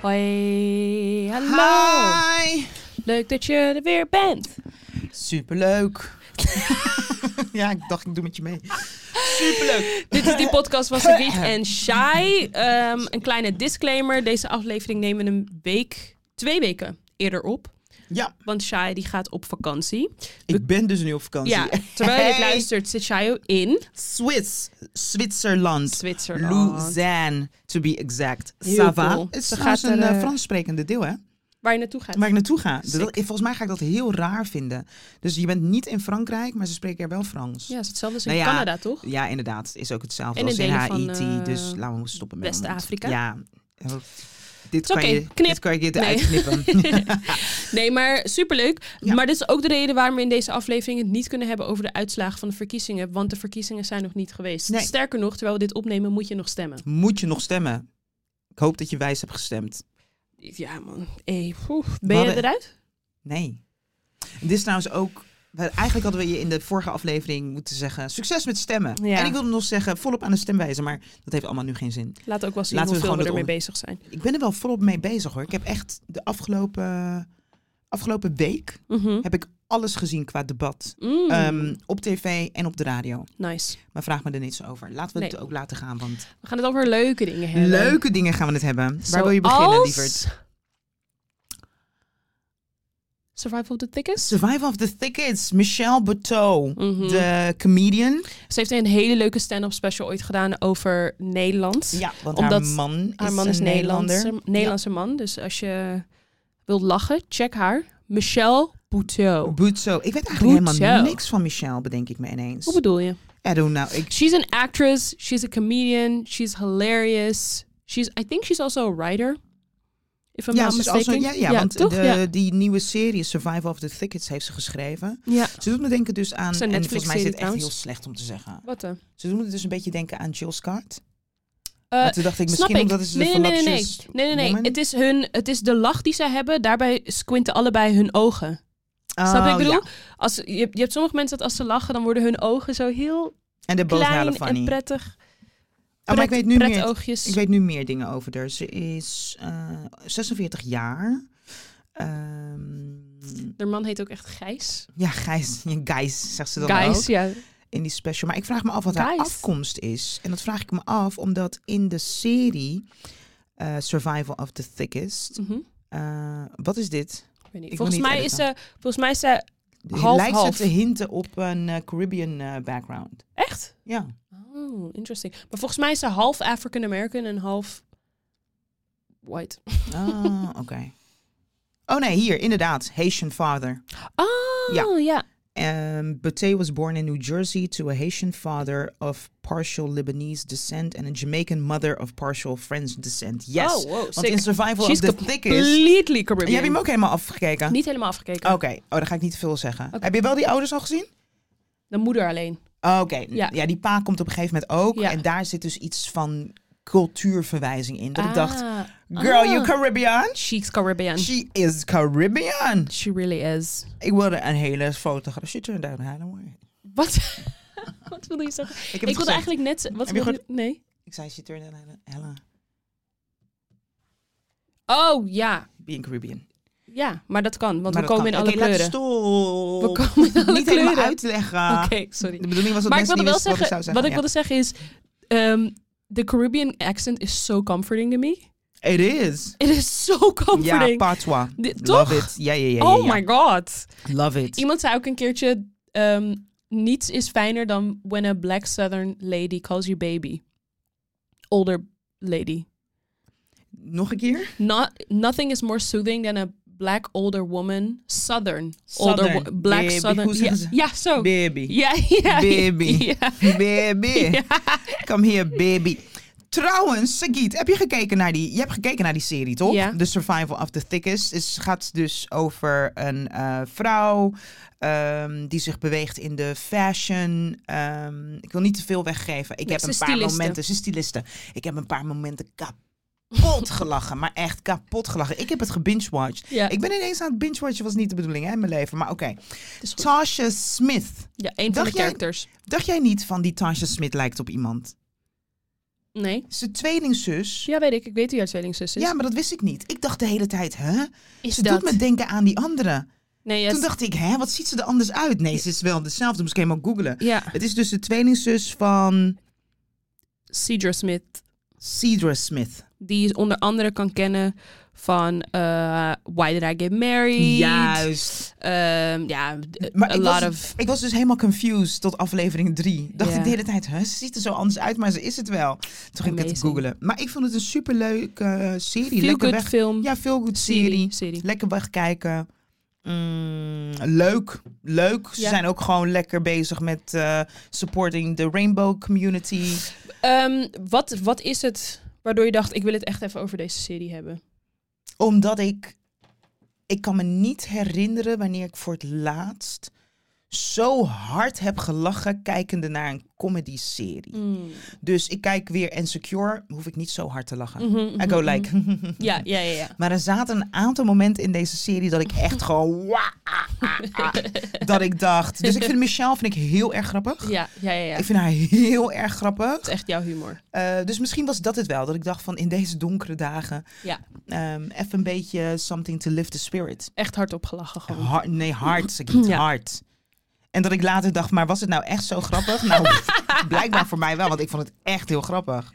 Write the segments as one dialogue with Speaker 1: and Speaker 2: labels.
Speaker 1: Hoi, hallo.
Speaker 2: Hi!
Speaker 1: Leuk dat je er weer bent.
Speaker 2: Superleuk. ja, ik dacht ik doe met je mee. Superleuk.
Speaker 1: Dit is die podcast van Sagiet en Shai. Ehm, een kleine disclaimer. Deze aflevering nemen we een week, twee weken eerder op.
Speaker 2: Ja,
Speaker 1: Want Shai die gaat op vakantie.
Speaker 2: ik ben dus nu op vakantie.
Speaker 1: Ja, terwijl je dit
Speaker 2: Hey.
Speaker 1: luistert zit Shai in
Speaker 2: Swiss, Zwitserland.
Speaker 1: Zwitserland.
Speaker 2: Lausanne, to be exact.
Speaker 1: Heel
Speaker 2: Sava.
Speaker 1: cool.
Speaker 2: Het is
Speaker 1: Ze
Speaker 2: trouwens
Speaker 1: gaat
Speaker 2: een
Speaker 1: er,
Speaker 2: eh,
Speaker 1: eh,
Speaker 2: Frans sprekende deel, hè?
Speaker 1: Waar je naartoe gaat.
Speaker 2: Waar ik naartoe ga.
Speaker 1: Sick.
Speaker 2: Dat, volgens mij ga ik dat heel raar vinden. Dus je bent niet in Frankrijk, maar ze spreken er wel Frans.
Speaker 1: Ja, het is hetzelfde als in
Speaker 2: Nou ja,
Speaker 1: Canada, toch?
Speaker 2: Ja, inderdaad. Het is ook hetzelfde
Speaker 1: En in
Speaker 2: als in
Speaker 1: delen van,
Speaker 2: Haiti.
Speaker 1: eh,
Speaker 2: dus laten we stoppen met
Speaker 1: West-Afrika.
Speaker 2: Ja. Dit
Speaker 1: Is
Speaker 2: kan,
Speaker 1: oké,
Speaker 2: je,
Speaker 1: knip.
Speaker 2: dit kan je dit
Speaker 1: Nee.
Speaker 2: uitknippen.
Speaker 1: Nee, maar superleuk.
Speaker 2: Ja.
Speaker 1: Maar dit is ook de reden waarom we in deze aflevering het niet kunnen hebben over de uitslagen van de verkiezingen. Want de verkiezingen zijn nog niet geweest.
Speaker 2: Nee.
Speaker 1: Sterker nog, terwijl we dit opnemen, moet je nog stemmen.
Speaker 2: Moet je nog stemmen? Ik hoop dat je wijs hebt gestemd.
Speaker 1: Ja, man. Hey,
Speaker 2: We
Speaker 1: ben je
Speaker 2: hadden-
Speaker 1: eruit?
Speaker 2: Nee. En dit is trouwens ook... we- Eigenlijk hadden we je in de vorige aflevering moeten zeggen... Succes met stemmen.
Speaker 1: Ja.
Speaker 2: En ik wilde nog zeggen, volop aan de stemwijze. Maar dat heeft allemaal nu geen zin.
Speaker 1: Laat ook wel zien
Speaker 2: Laten we
Speaker 1: hoeveel we,
Speaker 2: gewoon
Speaker 1: ermee
Speaker 2: het
Speaker 1: bezig zijn.
Speaker 2: Ik ben er wel volop mee bezig hoor. Ik heb echt de afgelopen, afgelopen week...
Speaker 1: Mhm.
Speaker 2: heb ik alles gezien qua debat.
Speaker 1: Mm,
Speaker 2: Ehm, op tv en op de radio.
Speaker 1: nice.
Speaker 2: Maar vraag me er niets over. Laten we het
Speaker 1: Nee.
Speaker 2: ook laten gaan. Want
Speaker 1: We gaan het over leuke dingen hebben.
Speaker 2: leuke dingen gaan we het hebben. Waar wil je beginnen,
Speaker 1: Zoals
Speaker 2: lieverd?
Speaker 1: Survival of the Thickest.
Speaker 2: Survival of the Thickets. Michelle Buteau.
Speaker 1: Mhm.
Speaker 2: De comedian.
Speaker 1: Ze heeft een hele leuke stand-up special ooit gedaan over Nederland.
Speaker 2: Ja, want
Speaker 1: Omdat
Speaker 2: haar man is,
Speaker 1: Haar man
Speaker 2: een
Speaker 1: is
Speaker 2: Nederlander.
Speaker 1: Nederlandse, Nederlandse man. Dus als je wilt lachen, check haar. Michelle Buteau.
Speaker 2: Butzo. Ik weet eigenlijk helemaal
Speaker 1: Butzo.
Speaker 2: niks van Michelle, bedenk ik me ineens.
Speaker 1: Hoe bedoel je?
Speaker 2: I don't know. Ik,
Speaker 1: She's an actress. She's a comedian. She's hilarious. She's, I think she's also a writer. If I'm
Speaker 2: ja,
Speaker 1: not
Speaker 2: ze is
Speaker 1: mistaken.
Speaker 2: also- ja, ja, want
Speaker 1: toch?
Speaker 2: de,
Speaker 1: ja.
Speaker 2: die nieuwe serie Survival of the Thickets heeft ze geschreven.
Speaker 1: ja.
Speaker 2: Ze doet me denken dus aan...
Speaker 1: Is een
Speaker 2: en volgens mij
Speaker 1: Netflix-serie
Speaker 2: is dit echt
Speaker 1: trouwens.
Speaker 2: heel slecht om te zeggen.
Speaker 1: Wat dan?
Speaker 2: Ze doet me dus een beetje denken aan Jill Scott.
Speaker 1: Eh,
Speaker 2: Maar toen dacht ik,
Speaker 1: Snap
Speaker 2: misschien
Speaker 1: ik.
Speaker 2: omdat het
Speaker 1: nee,
Speaker 2: een
Speaker 1: nee, nee, nee.
Speaker 2: voluptuous
Speaker 1: Nee, nee, nee.
Speaker 2: woman-
Speaker 1: Het is, hun, het is de lach die ze hebben. Daarbij squinten allebei hun ogen. Snap je wat ik
Speaker 2: Oh,
Speaker 1: bedoel?
Speaker 2: ja.
Speaker 1: Als, je, je hebt sommige mensen dat als ze lachen, dan worden hun ogen zo heel
Speaker 2: En de bovenhalen
Speaker 1: klein
Speaker 2: funny.
Speaker 1: en prettig.
Speaker 2: Oh, maar ik
Speaker 1: Pret-
Speaker 2: weet nu meer.
Speaker 1: pretoogjes.
Speaker 2: Ik weet nu meer dingen over haar. Ze is eh, 46 jaar. Ehm,
Speaker 1: De man heet ook echt Gijs.
Speaker 2: ja, Gijs, ja, Gijs zegt ze dan ook.
Speaker 1: Gijs, ja.
Speaker 2: in die special. Maar ik vraag me af wat haar
Speaker 1: Guys.
Speaker 2: afkomst is. En dat vraag ik me af omdat in de serie eh, Survival of the Thickest.
Speaker 1: Mhm.
Speaker 2: eh, wat is dit?
Speaker 1: Ik weet niet.
Speaker 2: wil
Speaker 1: Volgens,
Speaker 2: niet
Speaker 1: mij is
Speaker 2: editen.
Speaker 1: ze, volgens mij is ze Half,
Speaker 2: Lijkt
Speaker 1: half.
Speaker 2: ze te hinten op een eh, Caribbean eh, background?
Speaker 1: echt.
Speaker 2: Ja.
Speaker 1: Oh, interesting. Maar volgens mij is ze half African American en half white.
Speaker 2: Ah, oké. Oh nee, hier inderdaad. Haitian father.
Speaker 1: Oh, ja.
Speaker 2: Ja. Um, Bate was born in New Jersey to a Haitian father of partial Lebanese descent and a Jamaican mother of partial French descent. Yes.
Speaker 1: Oh, wow,
Speaker 2: Want
Speaker 1: sick.
Speaker 2: in Survival
Speaker 1: She's
Speaker 2: of the Thickest...
Speaker 1: completely
Speaker 2: Je
Speaker 1: Caribbean.
Speaker 2: hebt hem ook helemaal afgekeken?
Speaker 1: Niet helemaal afgekeken.
Speaker 2: Oké, oh, daar ga ik niet te veel zeggen. Heb je wel die ouders al gezien?
Speaker 1: De moeder alleen.
Speaker 2: Oké,
Speaker 1: Ja.
Speaker 2: ja. die pa komt op een gegeven moment ook.
Speaker 1: Ja.
Speaker 2: En daar zit dus iets van cultuurverwijzing in. Dat ik dacht,
Speaker 1: Ah.
Speaker 2: girl,
Speaker 1: Ah.
Speaker 2: you Caribbean?
Speaker 1: She's Caribbean.
Speaker 2: She is Caribbean.
Speaker 1: She really is.
Speaker 2: Ik wilde een hele fotograaf. Zit er daar een hele mooie?
Speaker 1: Wat? wat wilde je zeggen?
Speaker 2: Ik,
Speaker 1: Ik,
Speaker 2: heb het
Speaker 1: wilde
Speaker 2: gezegd.
Speaker 1: eigenlijk net... ze- Wat
Speaker 2: Heb je
Speaker 1: wilde je- Nee.
Speaker 2: Ik zei, zit er een hele... hele-
Speaker 1: Oh, ja.
Speaker 2: Being Caribbean.
Speaker 1: Ja, maar dat kan. Want
Speaker 2: Maar
Speaker 1: we
Speaker 2: dat
Speaker 1: komen
Speaker 2: kan.
Speaker 1: in alle
Speaker 2: Oké, laat
Speaker 1: kleuren.
Speaker 2: stop.
Speaker 1: We komen in alle
Speaker 2: Niet
Speaker 1: kleuren.
Speaker 2: helemaal uitleggen.
Speaker 1: Oké, sorry.
Speaker 2: De bedoeling was dat
Speaker 1: Maar ik
Speaker 2: mensen
Speaker 1: wilde
Speaker 2: niet
Speaker 1: wel
Speaker 2: wisten
Speaker 1: zeggen, wat ik,
Speaker 2: wat ik zou zeggen. ja.
Speaker 1: wilde zeggen is, ehm, de Caribbean accent is so comforting to me.
Speaker 2: It is.
Speaker 1: It is so
Speaker 2: Ja,
Speaker 1: comforting.
Speaker 2: patois.
Speaker 1: Dit-
Speaker 2: Love
Speaker 1: toch?
Speaker 2: it. Ja, ja, ja. ja,
Speaker 1: oh
Speaker 2: ja.
Speaker 1: my god.
Speaker 2: Love it.
Speaker 1: Iemand zei ook een keertje, ehm, niets is fijner dan when a black southern lady calls you baby. Older lady.
Speaker 2: Nog een keer?
Speaker 1: Not, nothing is more soothing than a black older woman. Southern. Older wo-
Speaker 2: Southern.
Speaker 1: black
Speaker 2: Baby.
Speaker 1: southern.
Speaker 2: Hoe
Speaker 1: Ja,
Speaker 2: zeggen ze?
Speaker 1: ja, zo.
Speaker 2: Baby.
Speaker 1: Ja, ja.
Speaker 2: Baby.
Speaker 1: Ja.
Speaker 2: Baby.
Speaker 1: Ja.
Speaker 2: Come here, baby. Trouwens, Sagit, heb je gekeken naar die, je hebt gekeken naar die serie, toch?
Speaker 1: Ja.
Speaker 2: The Survival of the Thickest. Het gaat dus over een eh, vrouw ehm, die zich beweegt in de fashion. Ehm, ik wil niet te veel weggeven. Ik
Speaker 1: Nee,
Speaker 2: heb
Speaker 1: ze
Speaker 2: een
Speaker 1: is
Speaker 2: paar
Speaker 1: styliste.
Speaker 2: momenten, ze is styliste. Ik heb een paar momenten kapot gelachen, maar echt kapot gelachen. Ik heb het gebingewatched.
Speaker 1: Ja.
Speaker 2: Ik ben ineens aan het bingewatchen, was niet de bedoeling hè, in mijn leven, maar oké.
Speaker 1: is goed.
Speaker 2: Tasha Smith.
Speaker 1: Ja, een van
Speaker 2: Dacht
Speaker 1: de
Speaker 2: jij-
Speaker 1: characters.
Speaker 2: Dacht jij niet van die Tasha Smith lijkt op iemand?
Speaker 1: Nee.
Speaker 2: Ze tweelingzus.
Speaker 1: Ja, weet ik. Ik weet wie haar tweelingzus is.
Speaker 2: Ja, maar dat wist ik niet. Ik dacht de hele tijd, hè?
Speaker 1: is
Speaker 2: Ze doet me denken aan die andere.
Speaker 1: Nee, ja,
Speaker 2: Toen dacht ik, hè, wat ziet ze er anders uit? Nee, ze is wel dezelfde. Moest ik helemaal googlen.
Speaker 1: ja.
Speaker 2: Het is dus de tweelingzus van
Speaker 1: Cedra Smith.
Speaker 2: Cedra Smith.
Speaker 1: Die je onder andere kan kennen van eh, Why Did I Get Married?
Speaker 2: Juist.
Speaker 1: Ehm, ja, d-
Speaker 2: Maar
Speaker 1: a
Speaker 2: ik
Speaker 1: lot
Speaker 2: was-
Speaker 1: of...
Speaker 2: Ik was dus helemaal confused tot aflevering 3. Dacht
Speaker 1: Ja.
Speaker 2: ik de hele tijd, hè, ze ziet er zo anders uit, maar ze is het wel. Toen ging ik het
Speaker 1: Amazing.
Speaker 2: googelen. Maar ik vond het een superleuke eh, serie.
Speaker 1: Feel
Speaker 2: Lekker
Speaker 1: good
Speaker 2: weg.
Speaker 1: film.
Speaker 2: Ja, veel goed serie.
Speaker 1: serie.
Speaker 2: Lekker wegkijken. Mm, leuk, leuk. Ze
Speaker 1: Ja.
Speaker 2: zijn ook gewoon lekker bezig met eh, supporting the rainbow community.
Speaker 1: Ehm, wat, wat is het waardoor je dacht, ik wil het echt even over deze serie hebben?
Speaker 2: Omdat ik... Ik kan me niet herinneren wanneer ik voor het laatst zo hard heb gelachen kijkende naar een comedy
Speaker 1: Mm.
Speaker 2: serie. Dus ik kijk weer Insecure, hoef ik niet zo hard te lachen.
Speaker 1: Mhm, mhm,
Speaker 2: I go
Speaker 1: mhm.
Speaker 2: like...
Speaker 1: Ja, ja, ja. ja.
Speaker 2: Maar er zaten een aantal momenten in deze serie dat ik echt gewoon... wa- dat ik dacht... Dus ik vind Michelle vind ik heel erg grappig.
Speaker 1: Ja, ja, ja. ja.
Speaker 2: Ik vind haar heel erg grappig.
Speaker 1: Het is echt jouw humor.
Speaker 2: Eh, dus misschien was dat het wel. Dat ik dacht van in deze donkere dagen...
Speaker 1: Ja.
Speaker 2: ehm, even een beetje something to lift the spirit.
Speaker 1: Echt hardop gelachen gewoon.
Speaker 2: Hard, nee, hard. Zeg niet
Speaker 1: Ja.
Speaker 2: hard. En dat ik later dacht, maar was het nou echt zo grappig? nou, blijkbaar voor mij wel, want ik vond het echt heel grappig.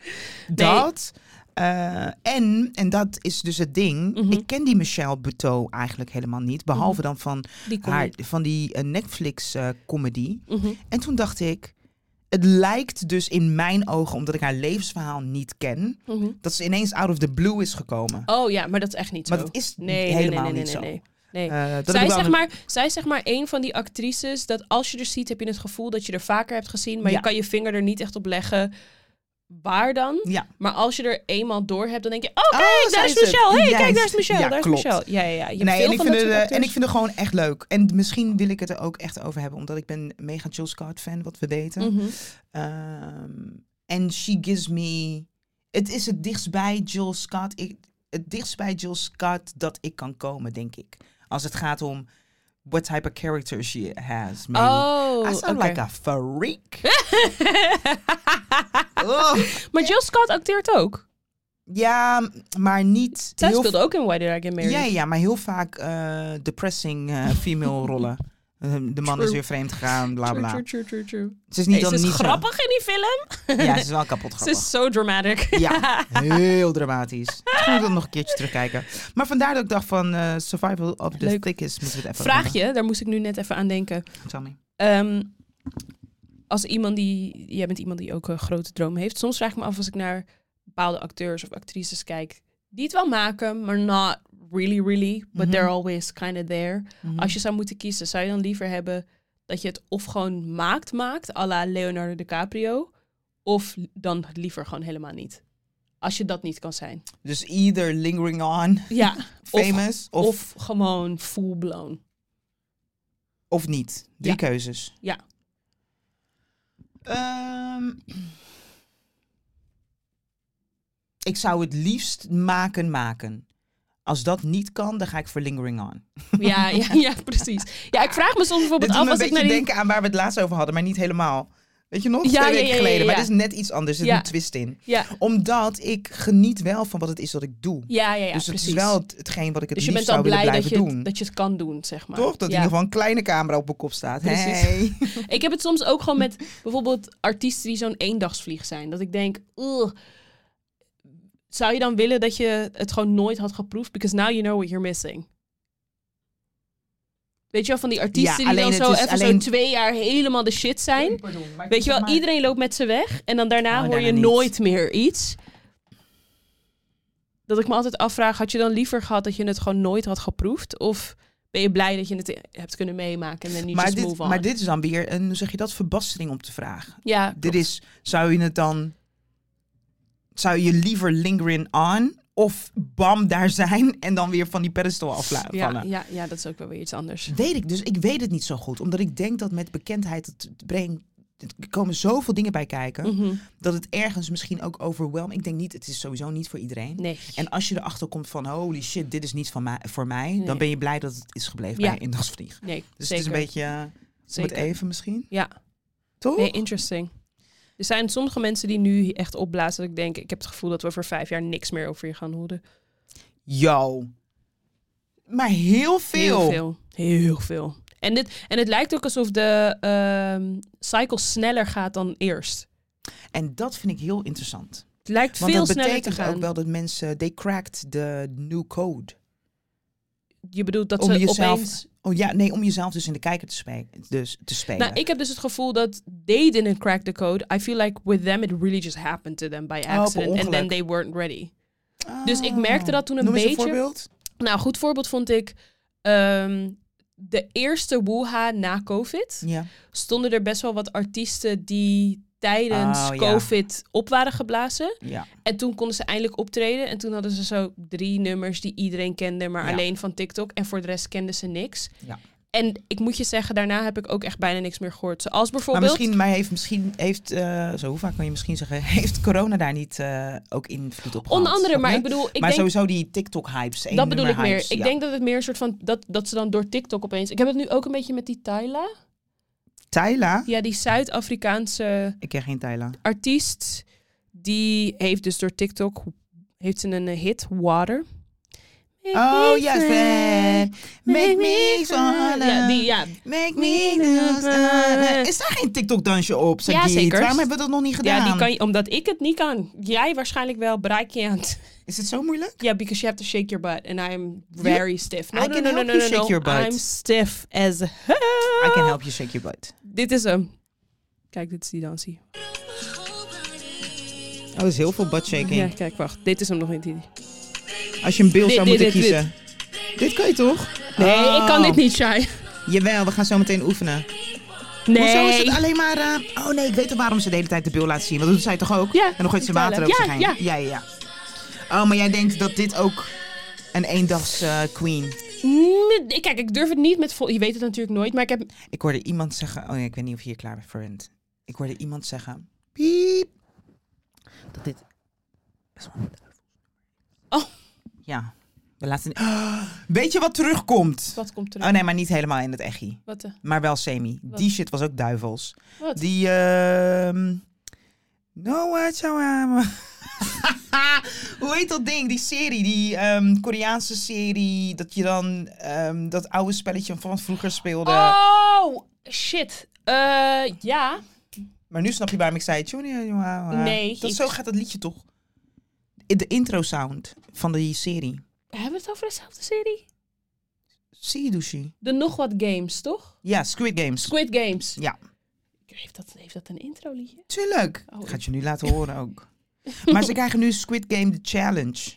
Speaker 2: Dat. eh, en, en dat is dus het ding.
Speaker 1: Mhm.
Speaker 2: Ik ken die Michelle Buteau eigenlijk helemaal niet. Behalve dan van,
Speaker 1: Die kom
Speaker 2: haar, van die eh, Netflix-comedy.
Speaker 1: Mhm,
Speaker 2: En toen dacht ik, het lijkt dus in mijn ogen, omdat ik haar levensverhaal niet ken,
Speaker 1: mhm.
Speaker 2: dat ze ineens out of the blue is gekomen.
Speaker 1: Oh ja, maar dat is echt niet
Speaker 2: maar
Speaker 1: zo.
Speaker 2: dat is
Speaker 1: Nee, nee, nee,
Speaker 2: helemaal
Speaker 1: nee, nee,
Speaker 2: niet zo.
Speaker 1: nee. nee. nee.
Speaker 2: Eh, dat heb
Speaker 1: zij, is
Speaker 2: ik wel
Speaker 1: zeg
Speaker 2: een-
Speaker 1: maar, zij is zeg maar een van die actrices dat als je er ziet, heb je het gevoel dat je er vaker hebt gezien, maar
Speaker 2: Ja.
Speaker 1: je kan je vinger er niet echt op leggen. Waar dan?
Speaker 2: Ja,
Speaker 1: Maar als je er eenmaal door hebt, dan denk je: Oh, kijk,
Speaker 2: Oh, zij
Speaker 1: daar is
Speaker 2: is het.
Speaker 1: Michelle. hey, kijk,
Speaker 2: Juist.
Speaker 1: daar is Michelle.
Speaker 2: Ja,
Speaker 1: daar is
Speaker 2: klopt.
Speaker 1: Michelle. Ja, ja, ja. Je hebt
Speaker 2: nee,
Speaker 1: veel
Speaker 2: en, ik
Speaker 1: van
Speaker 2: vind
Speaker 1: dat
Speaker 2: het,
Speaker 1: soort
Speaker 2: eh, en ik
Speaker 1: acteurs.
Speaker 2: vind het gewoon echt leuk. En misschien wil ik het er ook echt over hebben, omdat ik ben mega Jill Scott fan, wat we weten.
Speaker 1: Mhm.
Speaker 2: Ehm, En she gives me. Het is het dichtst bij Jill Scott. Ik, het dichtst bij Jill Scott dat ik kan komen, denk ik. Als het gaat om what type of character she has. Maybe.
Speaker 1: Oh,
Speaker 2: I sound
Speaker 1: oké.
Speaker 2: like a freak. Oh,
Speaker 1: maar Jill Scott acteert ook.
Speaker 2: ja, maar niet.
Speaker 1: Zij
Speaker 2: heel
Speaker 1: speelde ook in Why Did I Get Married?
Speaker 2: ja, ja, maar heel vaak eh, depressing eh, female rollen. Eh, De man is
Speaker 1: True.
Speaker 2: weer vreemd gegaan, bla
Speaker 1: True,
Speaker 2: bla.
Speaker 1: true, true, true, true.
Speaker 2: Ze is niet
Speaker 1: Hey,
Speaker 2: dan
Speaker 1: ze is
Speaker 2: niet zo-
Speaker 1: grappig in die film.
Speaker 2: Ja, ze is wel kapot grappig.
Speaker 1: Ze is zo dramatic.
Speaker 2: Ja, heel dramatisch. Misschien moet ik dat nog een keertje terugkijken. Maar vandaar dat ik dacht van eh, Survival of the
Speaker 1: Leuk.
Speaker 2: Thickest moeten we het even
Speaker 1: Vraag je, daar moest ik nu net even aan denken.
Speaker 2: over- Tell me.
Speaker 1: Ehm, als iemand die, jij bent iemand die ook een grote droom heeft. Soms vraag ik me af als ik naar bepaalde acteurs of actrices kijk. Die het wel maken, maar not really, really. But
Speaker 2: Mhm.
Speaker 1: they're always kind of there. Als je zou moeten kiezen, zou je dan liever hebben dat je het of gewoon maakt, maakt, à la Leonardo DiCaprio, of dan liever gewoon helemaal niet? Als je dat niet kan zijn.
Speaker 2: Dus either Lingering On,
Speaker 1: Ja, Of-
Speaker 2: Famous
Speaker 1: of,
Speaker 2: of, of,
Speaker 1: gewoon full blown.
Speaker 2: niet. Drie
Speaker 1: Ja.
Speaker 2: keuzes.
Speaker 1: Ja.
Speaker 2: Ehm, ik zou het liefst maken maken. Als dat niet kan, dan ga ik voor Lingering On.
Speaker 1: Ja, ja, ja, precies. Ja, ik vraag me soms
Speaker 2: Dit
Speaker 1: bijvoorbeeld
Speaker 2: doet
Speaker 1: af
Speaker 2: me een
Speaker 1: als ik naar
Speaker 2: beetje
Speaker 1: die...
Speaker 2: denken aan waar we het laatst over hadden, maar niet helemaal. Weet je nog?
Speaker 1: Ja,
Speaker 2: Twee
Speaker 1: ja,
Speaker 2: weken
Speaker 1: ja, ja,
Speaker 2: geleden. Maar
Speaker 1: ja.
Speaker 2: het is net iets anders. Er zit
Speaker 1: Ja.
Speaker 2: een twist in.
Speaker 1: Ja,
Speaker 2: Omdat ik geniet wel van wat het is dat ik doe.
Speaker 1: ja, ja, ja
Speaker 2: dus het
Speaker 1: precies.
Speaker 2: is wel het- hetgeen wat ik het
Speaker 1: dus je
Speaker 2: liefst
Speaker 1: bent al
Speaker 2: zou willen
Speaker 1: blij dat
Speaker 2: blijven
Speaker 1: je,
Speaker 2: doen.
Speaker 1: het, dat je het kan doen, zeg maar.
Speaker 2: Toch? Dat in
Speaker 1: Ja.
Speaker 2: ieder geval een kleine camera op mijn kop staat.
Speaker 1: Precies.
Speaker 2: Hey.
Speaker 1: Ik heb het soms ook gewoon met bijvoorbeeld artiesten die zo'n eendagsvlieg zijn. Dat ik denk, "Ugh, zou je dan willen dat je het gewoon nooit had geproefd? Because now you know what you're missing. Weet je wel, van die artiesten die
Speaker 2: alleen
Speaker 1: dan
Speaker 2: het
Speaker 1: zo
Speaker 2: is
Speaker 1: even
Speaker 2: alleen-
Speaker 1: zo twee jaar helemaal de shit zijn. Weet je wel, iedereen loopt met ze weg. En dan daarna
Speaker 2: Oh,
Speaker 1: hoor
Speaker 2: daarna
Speaker 1: je
Speaker 2: niet.
Speaker 1: nooit meer iets. Dat ik me altijd afvraag, had je dan liever gehad dat je het gewoon nooit had geproefd? Of ben je blij dat je het hebt kunnen meemaken en dan niet
Speaker 2: Maar
Speaker 1: just
Speaker 2: dit,
Speaker 1: move on?
Speaker 2: maar dit is dan weer een, hoe zeg je dat, verbastering om te vragen.
Speaker 1: ja,
Speaker 2: Dit is, zou je het dan... Zou je liever lingering on of bam, daar zijn en dan weer van die pedestal afvallen?
Speaker 1: Ja, ja, ja, dat is ook wel weer iets anders.
Speaker 2: Weet ik dus, ik weet het niet zo goed. Omdat ik denk dat met bekendheid, het brengt, er komen zoveel dingen bij kijken.
Speaker 1: Mhm.
Speaker 2: dat het ergens misschien ook overwhelmt. Ik denk niet, het is sowieso niet voor iedereen.
Speaker 1: Nee.
Speaker 2: En als je erachter komt van, holy shit, dit is niet van mij, voor mij,
Speaker 1: Nee.
Speaker 2: dan ben je blij dat het is gebleven
Speaker 1: Ja.
Speaker 2: bij indachtsvlieg.
Speaker 1: nee,
Speaker 2: Dus
Speaker 1: zeker.
Speaker 2: het is een beetje, eh, om het
Speaker 1: zeker.
Speaker 2: even misschien,
Speaker 1: Ja,
Speaker 2: toch?
Speaker 1: nee, interesting. Er zijn sommige mensen die nu echt opblazen. Dat ik denk, ik heb het gevoel dat we voor vijf jaar niks meer over je gaan horen.
Speaker 2: Yo. Maar heel veel.
Speaker 1: Heel veel. Heel veel. En, dit, en het lijkt ook alsof de ehm, cycle sneller gaat dan eerst.
Speaker 2: En dat vind ik heel interessant.
Speaker 1: Het lijkt
Speaker 2: Want
Speaker 1: veel
Speaker 2: dat
Speaker 1: sneller te
Speaker 2: betekent
Speaker 1: gaan.
Speaker 2: ook wel dat mensen, they cracked the new code.
Speaker 1: Je bedoelt dat
Speaker 2: om
Speaker 1: ze
Speaker 2: jezelf
Speaker 1: opeens...
Speaker 2: Oh ja, nee, om jezelf dus in de kijker te, spe- dus, te spelen.
Speaker 1: Nou, ik heb dus het gevoel dat they didn't crack the code. I feel like with them it really just happened to them by
Speaker 2: per
Speaker 1: accident. and then
Speaker 2: Oh, ongeluk.
Speaker 1: they weren't ready.
Speaker 2: Ah.
Speaker 1: dus ik merkte dat toen een
Speaker 2: Noem eens
Speaker 1: beetje.
Speaker 2: een voorbeeld.
Speaker 1: Nou, een goed voorbeeld vond ik... ehm, de eerste woeha na COVID
Speaker 2: Ja.
Speaker 1: stonden er best wel wat artiesten die tijdens
Speaker 2: Oh, ja.
Speaker 1: COVID op waren geblazen.
Speaker 2: ja.
Speaker 1: En toen konden ze eindelijk optreden. En toen hadden ze zo drie nummers die iedereen kende, maar
Speaker 2: Ja.
Speaker 1: alleen van TikTok. En voor de rest kenden ze niks.
Speaker 2: Ja.
Speaker 1: En ik moet je zeggen, daarna heb ik ook echt bijna niks meer gehoord. Zoals
Speaker 2: Maar
Speaker 1: bijvoorbeeld...
Speaker 2: misschien, maar heeft, misschien heeft, eh, zo hoe vaak kan je misschien zeggen, heeft corona daar niet eh, ook invloed
Speaker 1: Onder
Speaker 2: op gehad,
Speaker 1: andere,
Speaker 2: snap
Speaker 1: maar
Speaker 2: je?
Speaker 1: ik bedoel, ik
Speaker 2: maar
Speaker 1: denk,
Speaker 2: sowieso die TikTok-hypes. één
Speaker 1: dat bedoel ik
Speaker 2: nummer
Speaker 1: meer.
Speaker 2: hypes,
Speaker 1: ik
Speaker 2: ja.
Speaker 1: denk dat het meer een soort van, dat, dat ze dan door TikTok opeens... Ik heb het nu ook een beetje met die Tyla.
Speaker 2: Tyla?
Speaker 1: Ja, die Zuid-Afrikaanse
Speaker 2: Ik ken geen Tyla.
Speaker 1: artiest, die heeft dus door TikTok, heeft ze een eh, hit, Water.
Speaker 2: Oh, ja, fan. Make me wanna.
Speaker 1: Ja, die, ja.
Speaker 2: Make me Is daar geen TikTok-dansje op,
Speaker 1: Ja,
Speaker 2: Sagit?
Speaker 1: zeker.
Speaker 2: Waarom hebben we dat nog niet gedaan?
Speaker 1: Ja, die kan je, omdat ik het niet kan. Jij waarschijnlijk wel, but I can't.
Speaker 2: Is het zo moeilijk?
Speaker 1: Yeah, because you have to shake your butt. And I'm very stiff. No,
Speaker 2: I
Speaker 1: no,
Speaker 2: can
Speaker 1: no,
Speaker 2: help
Speaker 1: no,
Speaker 2: you
Speaker 1: no, no,
Speaker 2: shake
Speaker 1: no.
Speaker 2: your butt.
Speaker 1: I'm stiff as
Speaker 2: I
Speaker 1: hell.
Speaker 2: can help you shake your butt.
Speaker 1: Dit is hem. Kijk, dit is die dansie.
Speaker 2: Oh, er is heel veel butt shaking.
Speaker 1: Ja, kijk, wacht. Dit is hem nog niet. Nee,
Speaker 2: Als je een beeld
Speaker 1: Dit,
Speaker 2: zou
Speaker 1: dit,
Speaker 2: moeten
Speaker 1: dit,
Speaker 2: kiezen. Dit. kan je toch? Oh.
Speaker 1: ik kan dit niet, Shai.
Speaker 2: Jawel, we gaan zo meteen oefenen. Hoezo is
Speaker 1: Nee.
Speaker 2: het alleen maar... eh, oh nee, ik weet al waarom ze de hele tijd de beeld laten zien. Want dat doet zij toch ook?
Speaker 1: Ja,
Speaker 2: en dan gooit ze water
Speaker 1: vertellen.
Speaker 2: over
Speaker 1: Ja,
Speaker 2: zich heen.
Speaker 1: ja.
Speaker 2: ja, ja. Oh, maar jij denkt dat dit ook een eendags eh, queen...
Speaker 1: Nee, Kijk, ik durf het niet met vol. Je weet het natuurlijk nooit, maar ik heb.
Speaker 2: Ik hoorde iemand zeggen... Oh nee, ik weet niet of je hier klaar voor bent. Ik hoorde iemand zeggen... Piep. Dat dit...
Speaker 1: Oh.
Speaker 2: Ja. We laten... weet je wat terugkomt?
Speaker 1: Wat komt er?
Speaker 2: Oh nee, maar niet helemaal in het echi.
Speaker 1: Wat? eh,
Speaker 2: Maar wel semi. Die shit was ook duivels.
Speaker 1: wat?
Speaker 2: Die... ehm no watch Hoe heet dat ding? Die serie, die ehm, Koreaanse serie. Dat je dan ehm, dat oude spelletje van vroeger speelde.
Speaker 1: Oh, shit. Eh, ja.
Speaker 2: Maar nu snap je waarom ik zei... Junior, jongen. ah,
Speaker 1: Nee,
Speaker 2: Dat,
Speaker 1: ik-
Speaker 2: zo gaat dat liedje toch? De intro sound van die serie.
Speaker 1: Hebben we het over dezelfde serie?
Speaker 2: Seedushi.
Speaker 1: De nog wat games, toch?
Speaker 2: Ja, Squid Games.
Speaker 1: Squid Games.
Speaker 2: Ja.
Speaker 1: Heeft dat, heeft dat een intro liedje?
Speaker 2: Tuurlijk.
Speaker 1: Oh,
Speaker 2: Gaat je nu laten horen ook. maar ze krijgen nu Squid Game The Challenge.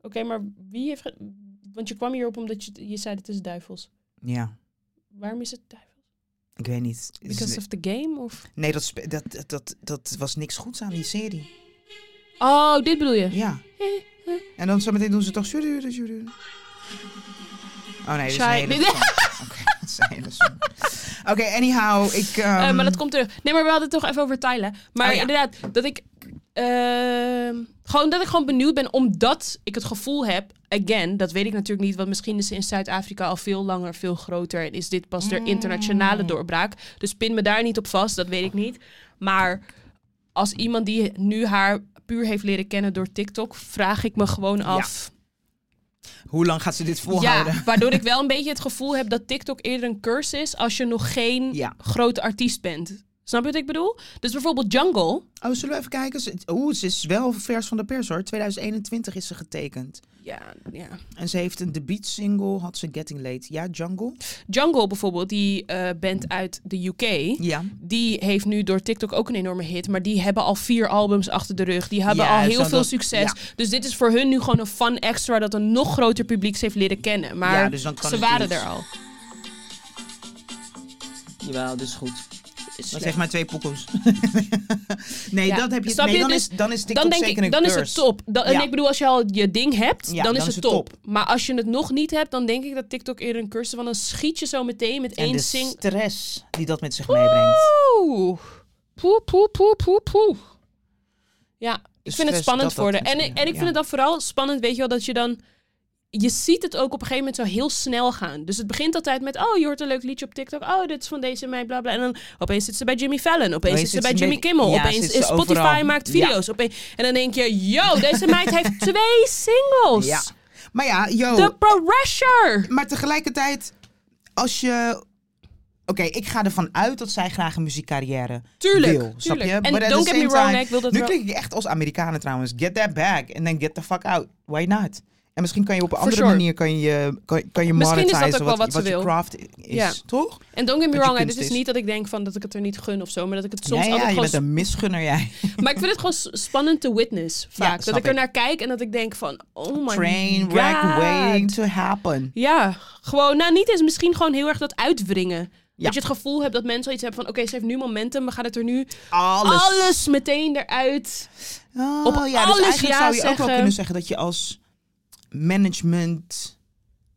Speaker 1: Oké, maar wie heeft. ge- Want je kwam hierop omdat je, je zei het is duivels.
Speaker 2: Ja,
Speaker 1: Waarom is het duivels?
Speaker 2: ik weet niet. Is-
Speaker 1: Because of the game? Of...
Speaker 2: Nee, dat, spe- dat, dat- dat, dat was niks goeds aan die serie.
Speaker 1: Oh, dit bedoel je?
Speaker 2: Ja. En dan zometeen doen ze toch... Oh nee, dit Oh, is een
Speaker 1: Shai-
Speaker 2: hele
Speaker 1: dit-
Speaker 2: song. Oké, dat is een hele song. Oké, anyhow, ik...
Speaker 1: Eh,
Speaker 2: ehm,
Speaker 1: maar dat komt terug. Nee, maar we hadden het toch even over Tyler. Maar
Speaker 2: Oh ja.
Speaker 1: inderdaad, dat ik. ehm, gewoon dat ik gewoon benieuwd ben, omdat ik het gevoel heb, again, dat weet ik natuurlijk niet, want misschien is ze in Zuid-Afrika al veel langer, veel groter en is dit pas
Speaker 2: Mm.
Speaker 1: de internationale doorbraak. Dus pin me daar niet op vast, dat weet ik niet. Maar als iemand die nu haar puur heeft leren kennen door TikTok, vraag ik me gewoon af.
Speaker 2: Hoe lang gaat ze dit
Speaker 1: Ja,
Speaker 2: volhouden?
Speaker 1: waardoor ik wel een beetje het gevoel heb dat TikTok eerder een curse is als je nog geen
Speaker 2: Ja.
Speaker 1: grote artiest bent. Snap je wat ik bedoel? Dus bijvoorbeeld Jungle.
Speaker 2: Oh, zullen we even kijken? Ze- Oeh, ze is wel vers van de pers hoor. 2021 is ze getekend.
Speaker 1: Ja, ja.
Speaker 2: En ze heeft een debuutsingle, had ze Getting Late. Ja, Jungle?
Speaker 1: Jungle bijvoorbeeld, die eh band uit de UK.
Speaker 2: Ja.
Speaker 1: Die heeft nu door TikTok ook een enorme hit. Maar die hebben al vier albums achter de rug. Die hebben
Speaker 2: Ja,
Speaker 1: al
Speaker 2: zo
Speaker 1: heel veel
Speaker 2: dat-
Speaker 1: succes.
Speaker 2: ja.
Speaker 1: Dus dit is voor hun nu gewoon een fun extra dat een nog groter publiek ze heeft leren kennen. Maar
Speaker 2: Ja, dus dan kan
Speaker 1: ze
Speaker 2: het
Speaker 1: waren
Speaker 2: niet.
Speaker 1: er al.
Speaker 2: Jawel, dus goed. Dat
Speaker 1: Slecht.
Speaker 2: zeg maar twee pokkels. nee,
Speaker 1: Ja.
Speaker 2: dat heb je...
Speaker 1: Snap
Speaker 2: nee,
Speaker 1: je?
Speaker 2: dan,
Speaker 1: Dus
Speaker 2: is, dan is TikTok
Speaker 1: Dan denk
Speaker 2: zeker
Speaker 1: ik,
Speaker 2: een
Speaker 1: dan is het
Speaker 2: curse.
Speaker 1: top. Dan, en
Speaker 2: Ja.
Speaker 1: ik bedoel, als je al je ding hebt,
Speaker 2: Ja,
Speaker 1: dan, is het top. Maar als je het nog niet hebt, dan denk ik dat TikTok eerder een cursus van dan schiet je zo meteen met
Speaker 2: En
Speaker 1: één
Speaker 2: de
Speaker 1: sing.
Speaker 2: stress die dat met zich meebrengt.
Speaker 1: Oeh. Poe, poe, poe, poe, poe. Ja, ik vind het
Speaker 2: stress
Speaker 1: spannend
Speaker 2: dat dat
Speaker 1: voor de.
Speaker 2: moet
Speaker 1: En, ik-
Speaker 2: zijn,
Speaker 1: en ik vind
Speaker 2: ja.
Speaker 1: het dan vooral spannend, weet je wel, dat je dan... je ziet het ook op een gegeven moment zo heel snel gaan. Dus het begint altijd met, oh, je hoort een leuk liedje op TikTok. Oh, dit is van deze en mij, bla bla. En dan opeens zit ze bij Jimmy Fallon. Opeens
Speaker 2: Opeens
Speaker 1: zit ze
Speaker 2: zit
Speaker 1: bij
Speaker 2: ze
Speaker 1: Jimmy
Speaker 2: bij-
Speaker 1: Kimmel.
Speaker 2: ja,
Speaker 1: opeens
Speaker 2: zit ze
Speaker 1: is Spotify
Speaker 2: overal.
Speaker 1: maakt
Speaker 2: Ja.
Speaker 1: video's. Opeens, en dan denk je, yo, deze meid heeft twee singles.
Speaker 2: Ja. Maar ja, yo.
Speaker 1: The pressure.
Speaker 2: Maar tegelijkertijd, als je... Oké, ik ga ervan uit dat zij graag een muziekcarrière
Speaker 1: Tuurlijk,
Speaker 2: wil. Snap
Speaker 1: tuurlijk.
Speaker 2: je?
Speaker 1: En
Speaker 2: But at
Speaker 1: don't
Speaker 2: the
Speaker 1: get me
Speaker 2: same
Speaker 1: wrong,
Speaker 2: time-
Speaker 1: hè, ik wil dat
Speaker 2: Nu
Speaker 1: wel-
Speaker 2: klink ik echt als Amerikanen trouwens. Get that bag and then get the fuck out. Why not? En misschien kan je op een
Speaker 1: For
Speaker 2: andere
Speaker 1: sure.
Speaker 2: manier kan je, kan, kan je
Speaker 1: Misschien is dat
Speaker 2: monetizen
Speaker 1: ook wel
Speaker 2: wat,
Speaker 1: wat ze
Speaker 2: je
Speaker 1: wil.
Speaker 2: craft is,
Speaker 1: Ja.
Speaker 2: toch?
Speaker 1: En don't get me
Speaker 2: Wat je
Speaker 1: wrong, hè,
Speaker 2: kunst
Speaker 1: dit is
Speaker 2: is.
Speaker 1: niet dat ik denk van dat ik het er niet gun of zo, maar dat ik het soms
Speaker 2: ja, ja,
Speaker 1: altijd
Speaker 2: je
Speaker 1: gewoon... Oh
Speaker 2: bent een misgunner jij.
Speaker 1: Maar ik vind het gewoon s- spannend te witness vaak. dat
Speaker 2: snap
Speaker 1: ik er
Speaker 2: ik.
Speaker 1: naar kijk en dat ik denk van, oh my
Speaker 2: Train
Speaker 1: god.
Speaker 2: wreck waiting to happen.
Speaker 1: Ja, gewoon, nou niet eens misschien gewoon heel erg dat uitwringen.
Speaker 2: Ja.
Speaker 1: Dat je het gevoel hebt dat mensen iets hebben van, oké, ze heeft nu momentum, we gaan het er nu
Speaker 2: Alles.
Speaker 1: alles, meteen eruit.
Speaker 2: Oh,
Speaker 1: Op
Speaker 2: ja,
Speaker 1: alles
Speaker 2: dus eigenlijk
Speaker 1: ja
Speaker 2: zou je ook
Speaker 1: zeggen.
Speaker 2: wel kunnen zeggen dat je als management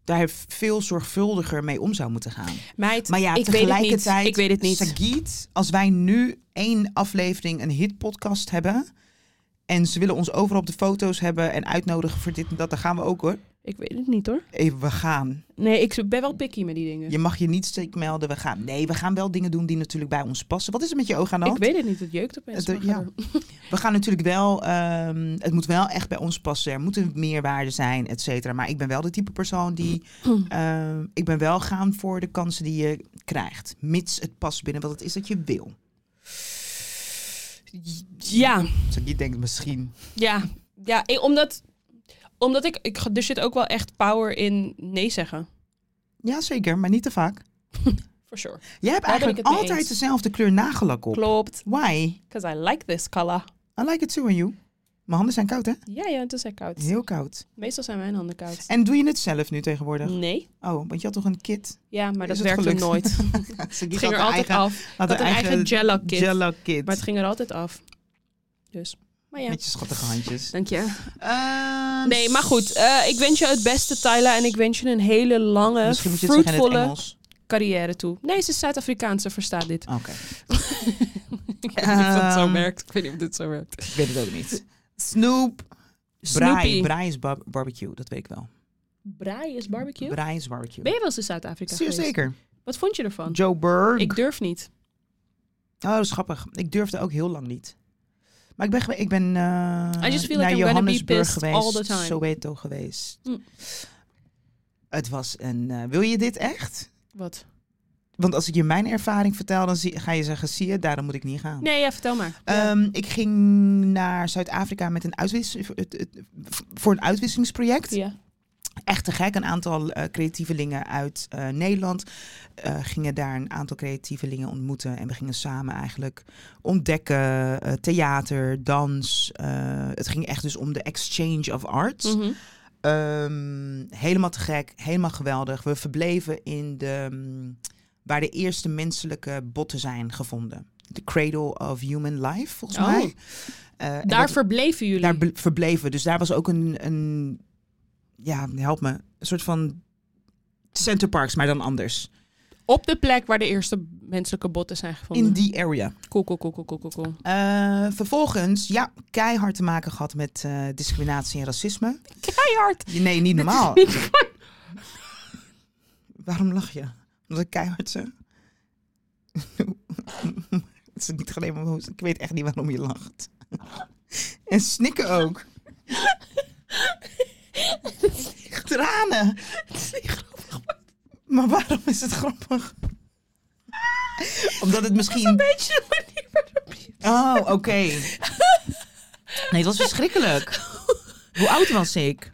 Speaker 2: daar veel zorgvuldiger mee om zou moeten gaan.
Speaker 1: Meid,
Speaker 2: Maar ja,
Speaker 1: ik weet het niet.
Speaker 2: tegelijkertijd,
Speaker 1: Ik weet het niet.
Speaker 2: Sagiet, als wij nu één aflevering een hitpodcast hebben en ze willen ons overal op de foto's hebben en uitnodigen voor dit en dat, dan gaan we ook hoor.
Speaker 1: Ik weet het niet hoor.
Speaker 2: Even, we gaan.
Speaker 1: Nee, ik ben wel picky met die dingen.
Speaker 2: Je mag je niet steek melden. We gaan. Nee, we gaan wel dingen doen die natuurlijk bij ons passen. Wat is er met je oog aan de hand?
Speaker 1: ik weet het niet, het jeukt opeens.
Speaker 2: Het-
Speaker 1: maar
Speaker 2: ja.
Speaker 1: ga door.
Speaker 2: We gaan natuurlijk wel, ehm, het moet wel echt bij ons passen. Er moeten meerwaarden zijn, et cetera. Maar ik ben wel de type persoon die, ehm, ik ben wel gaan voor de kansen die je krijgt. Mits het past binnen wat het is dat je wil.
Speaker 1: ja.
Speaker 2: Dus ik denk misschien.
Speaker 1: Ja, ja ik- omdat, omdat ik, ik. Er zit ook wel echt power in nee zeggen.
Speaker 2: Ja, zeker, maar niet te vaak.
Speaker 1: For sure.
Speaker 2: Jij hebt
Speaker 1: ben
Speaker 2: eigenlijk
Speaker 1: ik het mee
Speaker 2: altijd
Speaker 1: eens.
Speaker 2: dezelfde kleur nagellak op.
Speaker 1: Klopt.
Speaker 2: Why?
Speaker 1: Because I like this color.
Speaker 2: I like it too on you. Mijn handen zijn koud, hè?
Speaker 1: Ja, ja, het is echt koud.
Speaker 2: Heel koud.
Speaker 1: Meestal zijn mijn handen koud.
Speaker 2: En doe je het zelf nu tegenwoordig?
Speaker 1: Nee.
Speaker 2: Oh, want je had toch een kit?
Speaker 1: Ja, maar dat
Speaker 2: Is het
Speaker 1: werkte
Speaker 2: gelukt?
Speaker 1: nooit.
Speaker 2: Ze
Speaker 1: Het ging er altijd af.
Speaker 2: Had
Speaker 1: had een eigen Jell-O-kit.
Speaker 2: Jell-O-kit.
Speaker 1: Maar het ging er altijd af. Dus. Maar ja.
Speaker 2: Met je schattige handjes.
Speaker 1: Dank je.
Speaker 2: Ehm,
Speaker 1: Nee, maar goed. eh, ik wens je het beste, Tyla. En ik wens je een hele lange,
Speaker 2: Misschien moet je het zeggen in het
Speaker 1: eh, fruitvolle
Speaker 2: Engels.
Speaker 1: carrière toe. Nee, ze is Zuid-Afrikaanse. Verstaat dit.
Speaker 2: Oké,
Speaker 1: Ik weet niet of dat zo
Speaker 2: Ehm.
Speaker 1: werkt. Ik weet niet of dit zo werkt.
Speaker 2: ik weet het ook niet. Snoep. Braai.
Speaker 1: Snoopy.
Speaker 2: Braai is bar- barbecue, dat weet ik wel.
Speaker 1: Braai is barbecue?
Speaker 2: Braai is barbecue.
Speaker 1: Ben je wel eens in Zuid-Afrika
Speaker 2: Zeer
Speaker 1: geweest?
Speaker 2: zeker.
Speaker 1: Wat vond je ervan?
Speaker 2: Joe Berg.
Speaker 1: Ik durf niet.
Speaker 2: Oh, dat is grappig. Ik durfde ook heel lang niet. Maar ik ben, gewe- ik ben eh,
Speaker 1: just feel
Speaker 2: naar
Speaker 1: like I'm gonna be
Speaker 2: Johannesburg
Speaker 1: pissed
Speaker 2: geweest,
Speaker 1: all the time.
Speaker 2: Soweto geweest.
Speaker 1: Hm.
Speaker 2: Het was een... eh, wil je dit echt?
Speaker 1: Wat?
Speaker 2: Oh. Want als ik je mijn ervaring vertel, dan zie- ga je zeggen... Zie je, daarom moet ik niet gaan.
Speaker 1: Nee, ja, vertel maar. Ja.
Speaker 2: Ehm, ik ging naar Zuid-Afrika met een uitwis- het- het- voor een uitwisselingsproject.
Speaker 1: Ja.
Speaker 2: Echt te gek. Een aantal eh, creatievelingen uit eh, Nederland eh, gingen daar een aantal creatievelingen ontmoeten. En we gingen samen eigenlijk ontdekken. eh, theater, dans. eh, het ging echt dus om de exchange of arts.
Speaker 1: Mhm.
Speaker 2: Ehm, helemaal te gek, helemaal geweldig. We verbleven in de, mm, waar de eerste menselijke botten zijn gevonden. The Cradle of Human Life, volgens
Speaker 1: Oh.
Speaker 2: mij. Eh, en
Speaker 1: Daar
Speaker 2: dat-
Speaker 1: verbleven jullie.
Speaker 2: daar be- verbleven we. Dus daar was ook een, een, ja, help me, een soort van Center Parks, maar dan anders.
Speaker 1: Op de plek waar de eerste menselijke botten zijn gevonden.
Speaker 2: In die area.
Speaker 1: Cool, cool, cool, cool, cool, cool, cool.
Speaker 2: Eh, vervolgens, ja, keihard te maken gehad met eh, discriminatie en racisme.
Speaker 1: Keihard!
Speaker 2: Nee, niet normaal.
Speaker 1: Dit is niet waar.
Speaker 2: Waarom lach je? Omdat ik keihard zeg? Het is niet alleen maar hoest. Ik weet echt niet waarom je lacht. en snikken ook. Tranen. Maar waarom is het grappig? Omdat het
Speaker 1: Een
Speaker 2: misschien...
Speaker 1: beetje de manier waarop je-
Speaker 2: Oh, oké. Nee, het was verschrikkelijk. Hoe oud was ik?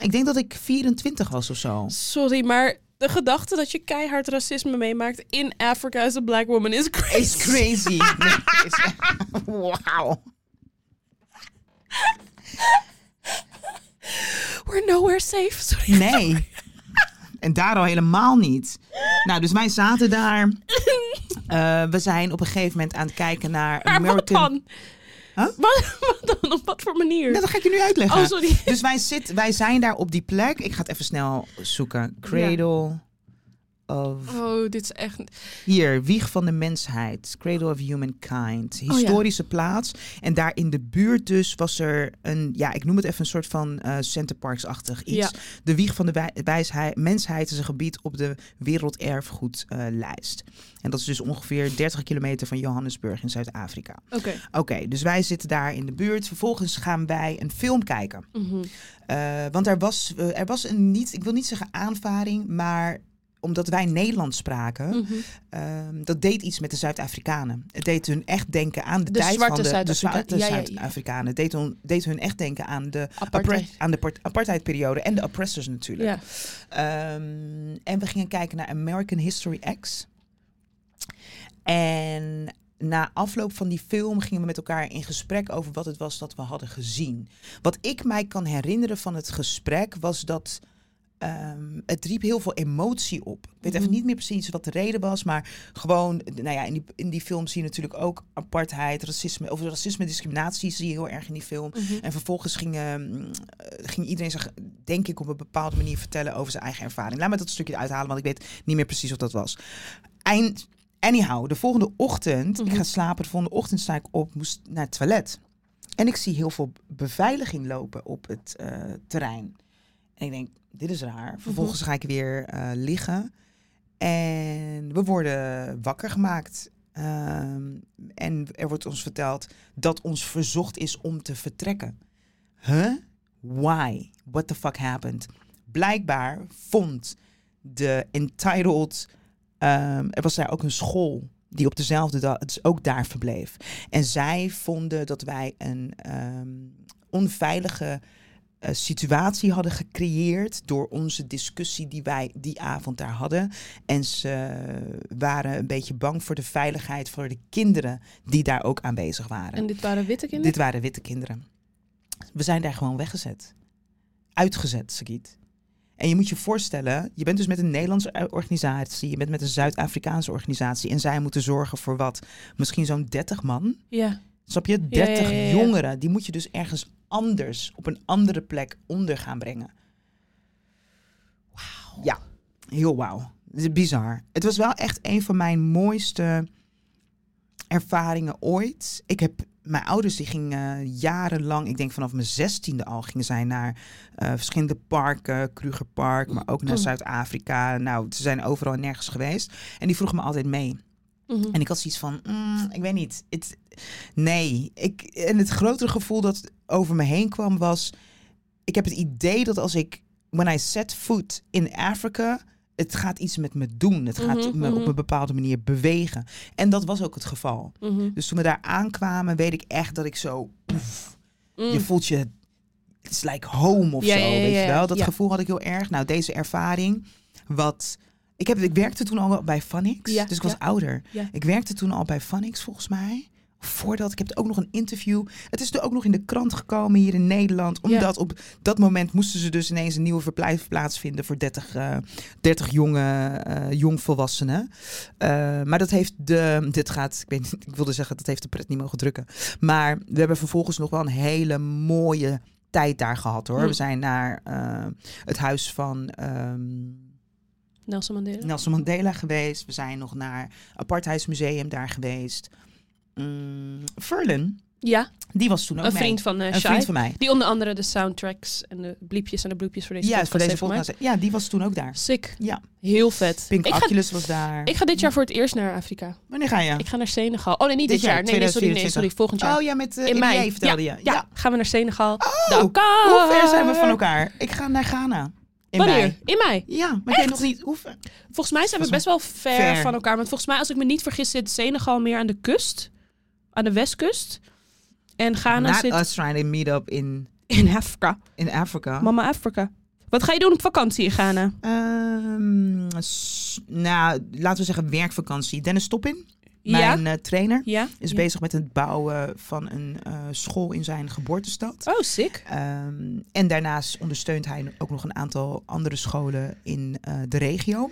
Speaker 2: Ik denk dat ik 24 was of zo.
Speaker 1: Sorry, maar de gedachte dat je keihard racisme meemaakt in Afrika as a black woman is crazy.
Speaker 2: It's crazy. Nee, is- Wauw.
Speaker 1: We're nowhere safe. Sorry.
Speaker 2: Nee. En daar al helemaal niet. Nou, dus wij zaten daar. Eh, we zijn op een gegeven moment aan het kijken naar
Speaker 1: Maar wat
Speaker 2: American...
Speaker 1: dan?
Speaker 2: Huh?
Speaker 1: Wat, wat dan? Op wat voor manier?
Speaker 2: Ja, dat ga ik je nu uitleggen.
Speaker 1: Oh, sorry.
Speaker 2: Dus wij, zit, wij zijn daar op die plek. Ik ga het even snel zoeken. Cradle of...
Speaker 1: Oh, dit is echt...
Speaker 2: Hier, Wieg van de Mensheid, Cradle of
Speaker 1: Oh
Speaker 2: Humankind. Historische plaats. En daar in de buurt dus was er een, ja, ik noem het even een soort van eh Centerparks-achtig iets.
Speaker 1: Ja.
Speaker 2: De Wieg van de wij- wijsheid, Mensheid is een gebied op de werelderfgoedlijst. en dat is dus ongeveer 30 kilometer van Johannesburg in Zuid-Afrika.
Speaker 1: Oké.
Speaker 2: Oké, dus wij zitten daar in de buurt. Vervolgens gaan wij een film kijken.
Speaker 1: Mhm.
Speaker 2: Eh, want er was, eh, er was een niet, ik wil niet zeggen aanvaring, maar omdat wij Nederlands spraken,
Speaker 1: Mhm.
Speaker 2: ehm, dat deed iets met de Zuid-Afrikanen. Het deed hun echt denken aan de,
Speaker 1: De
Speaker 2: tijd
Speaker 1: zwarte
Speaker 2: van de, de
Speaker 1: Zuid-Afrika-
Speaker 2: zwarte
Speaker 1: ja, ja, ja.
Speaker 2: Zuid-Afrikanen. Het deed, hun- deed hun echt denken aan de,
Speaker 1: Apartheid.
Speaker 2: appar- aan de part- apartheidperiode en de oppressors natuurlijk.
Speaker 1: Ja.
Speaker 2: Ehm, en we gingen kijken naar American History X. En na afloop van die film gingen we met elkaar in gesprek over wat het was dat we hadden gezien. Wat ik mij kan herinneren van het gesprek was dat ehm, het riep heel veel emotie op. Ik weet even
Speaker 1: Mhm.
Speaker 2: niet meer precies wat de reden was, maar gewoon, nou ja, in die, in die film zie je natuurlijk ook apartheid, racisme, over racisme, discriminatie zie je heel erg in die film.
Speaker 1: Mhm.
Speaker 2: En vervolgens ging, eh, mm, eh, ging iedereen zich, denk ik, op een bepaalde manier vertellen over zijn eigen ervaring. Laat me dat stukje uithalen, want ik weet niet meer precies wat dat was. Eind, anyhow, de volgende ochtend,
Speaker 1: Mhm.
Speaker 2: ik ga slapen, de volgende ochtend sta ik op, moest naar het toilet. En ik zie heel veel beveiliging lopen op het eh, terrein. En ik denk, dit is raar. Vervolgens ga ik weer eh, liggen. En we worden wakker gemaakt. Ehm, en er wordt ons verteld dat ons verzocht is om te vertrekken. Huh? Why? What the fuck happened? Blijkbaar vond de entitled. ehm, er was daar ook een school die op dezelfde dag dus ook daar verbleef. En zij vonden dat wij een ehm, onveilige eh, situatie hadden gecreëerd door onze discussie die wij die avond daar hadden. En ze waren een beetje bang voor de veiligheid voor de kinderen die daar ook aanwezig waren.
Speaker 1: En dit waren witte kinderen?
Speaker 2: Dit waren witte kinderen. We zijn daar gewoon weggezet. Uitgezet, Sagiet. En je moet je voorstellen, je bent dus met een Nederlandse eh, organisatie, je bent met een Zuid-Afrikaanse organisatie en zij moeten zorgen voor wat? Misschien zo'n 30 man.
Speaker 1: Ja.
Speaker 2: Snap je?
Speaker 1: ja,
Speaker 2: 30
Speaker 1: ja, ja.
Speaker 2: jongeren, die moet je dus ergens anders, op een andere plek onder gaan brengen. Wauw. Ja, heel wauw. Het is Bizar. Het was wel echt een van mijn mooiste ervaringen ooit. Ik heb mijn ouders die gingen jarenlang, ik denk vanaf mijn zestiende al, gingen zij naar eh, verschillende parken, Krugerpark, maar ook naar
Speaker 1: Mm.
Speaker 2: Zuid-Afrika. Nou, ze zijn overal en nergens geweest. En die vroegen me altijd mee.
Speaker 1: Mhm.
Speaker 2: En ik had zoiets van, mm, ik weet niet. Het, nee. Ik, en het grotere gevoel dat over me heen kwam was... Ik heb het idee dat als ik... When I set foot in Africa... Het gaat iets met me doen. Het gaat
Speaker 1: Mhm,
Speaker 2: me
Speaker 1: mhm.
Speaker 2: op een bepaalde manier bewegen. En dat was ook het geval.
Speaker 1: Mhm.
Speaker 2: Dus toen we daar aankwamen, weet ik echt dat ik zo... poef,
Speaker 1: Mm.
Speaker 2: Je voelt je... It's like home of
Speaker 1: Ja,
Speaker 2: zo,
Speaker 1: ja, ja,
Speaker 2: weet je
Speaker 1: ja,
Speaker 2: wel? Dat
Speaker 1: ja.
Speaker 2: gevoel had ik heel erg. Nou, deze ervaring, wat... Ik, heb, ik werkte toen al wel bij Phonics,
Speaker 1: Ja,
Speaker 2: dus ik
Speaker 1: ja.
Speaker 2: was ouder.
Speaker 1: Ja.
Speaker 2: Ik werkte toen al bij Phonics, volgens mij. Voordat, ik heb ook nog een interview. Het is er ook nog in de krant gekomen hier in Nederland. Omdat op dat moment moesten ze dus ineens een nieuwe verblijf plaatsvinden voor 30, eh 30 jonge eh, jongvolwassenen. Eh, maar dat heeft de. Dit gaat. Ik, weet, niet, ik wilde zeggen, dat heeft de pret niet mogen drukken. Maar we hebben vervolgens nog wel een hele mooie tijd daar gehad hoor.
Speaker 1: Hm.
Speaker 2: We zijn naar eh, het huis van. ehm,
Speaker 1: Nelson Mandela?
Speaker 2: Nelson Mandela geweest. We zijn nog naar Apartheidsmuseum daar geweest. Mm, Verlin,
Speaker 1: Ja,
Speaker 2: die was toen ook
Speaker 1: een
Speaker 2: mee.
Speaker 1: vriend van eh
Speaker 2: Oh, een
Speaker 1: Shai.
Speaker 2: vriend van mij.
Speaker 1: Die onder andere de soundtracks en de bliepjes en de bloepjes voor deze
Speaker 2: Ja,
Speaker 1: podcast
Speaker 2: voor deze
Speaker 1: heeft gemaakt.
Speaker 2: podcast. Ja, die was toen ook daar.
Speaker 1: Sick.
Speaker 2: Ja.
Speaker 1: Heel vet.
Speaker 2: Pink
Speaker 1: ik, ga,
Speaker 2: Oculus was daar.
Speaker 1: ik ga dit jaar voor het eerst naar Afrika.
Speaker 2: Wanneer ga je?
Speaker 1: Ik ga naar Senegal. Oh nee, niet dit,
Speaker 2: Dit
Speaker 1: jaar.
Speaker 2: jaar,
Speaker 1: Nee, nee, sorry, nee,
Speaker 2: 2024.
Speaker 1: sorry, volgend jaar.
Speaker 2: Oh ja, met uh,
Speaker 1: In mei.
Speaker 2: vertelde je.
Speaker 1: ja. gaan we naar Senegal.
Speaker 2: Oh,
Speaker 1: Dakar.
Speaker 2: Hoe ver zijn we van elkaar? Ik ga naar Ghana. In
Speaker 1: Ah. Wanneer?
Speaker 2: mei.
Speaker 1: In mei.
Speaker 2: Ja, maar ik weet nog niet hoe ver.
Speaker 1: Volgens mij zijn we best
Speaker 2: Volgens
Speaker 1: wel ver,
Speaker 2: ver.
Speaker 1: van elkaar. Want volgens mij, als ik me niet vergis, zit Senegal meer aan de kust. Aan de westkust. En Ghana
Speaker 2: Not
Speaker 1: zit
Speaker 2: us trying to meet up in,
Speaker 1: in Afrika.
Speaker 2: in Africa.
Speaker 1: Mama Afrika. Wat ga je doen op vakantie in Ghana?
Speaker 2: Ehm, s- nou, laten we zeggen werkvakantie. Dennis Stoppin,
Speaker 1: Ja?
Speaker 2: mijn eh, trainer.
Speaker 1: Ja?
Speaker 2: is
Speaker 1: Ja.
Speaker 2: bezig met het bouwen van een eh, school in zijn geboortestad.
Speaker 1: Oh, sick.
Speaker 2: Ehm, en daarnaast ondersteunt hij ook nog een aantal andere scholen in eh, de regio.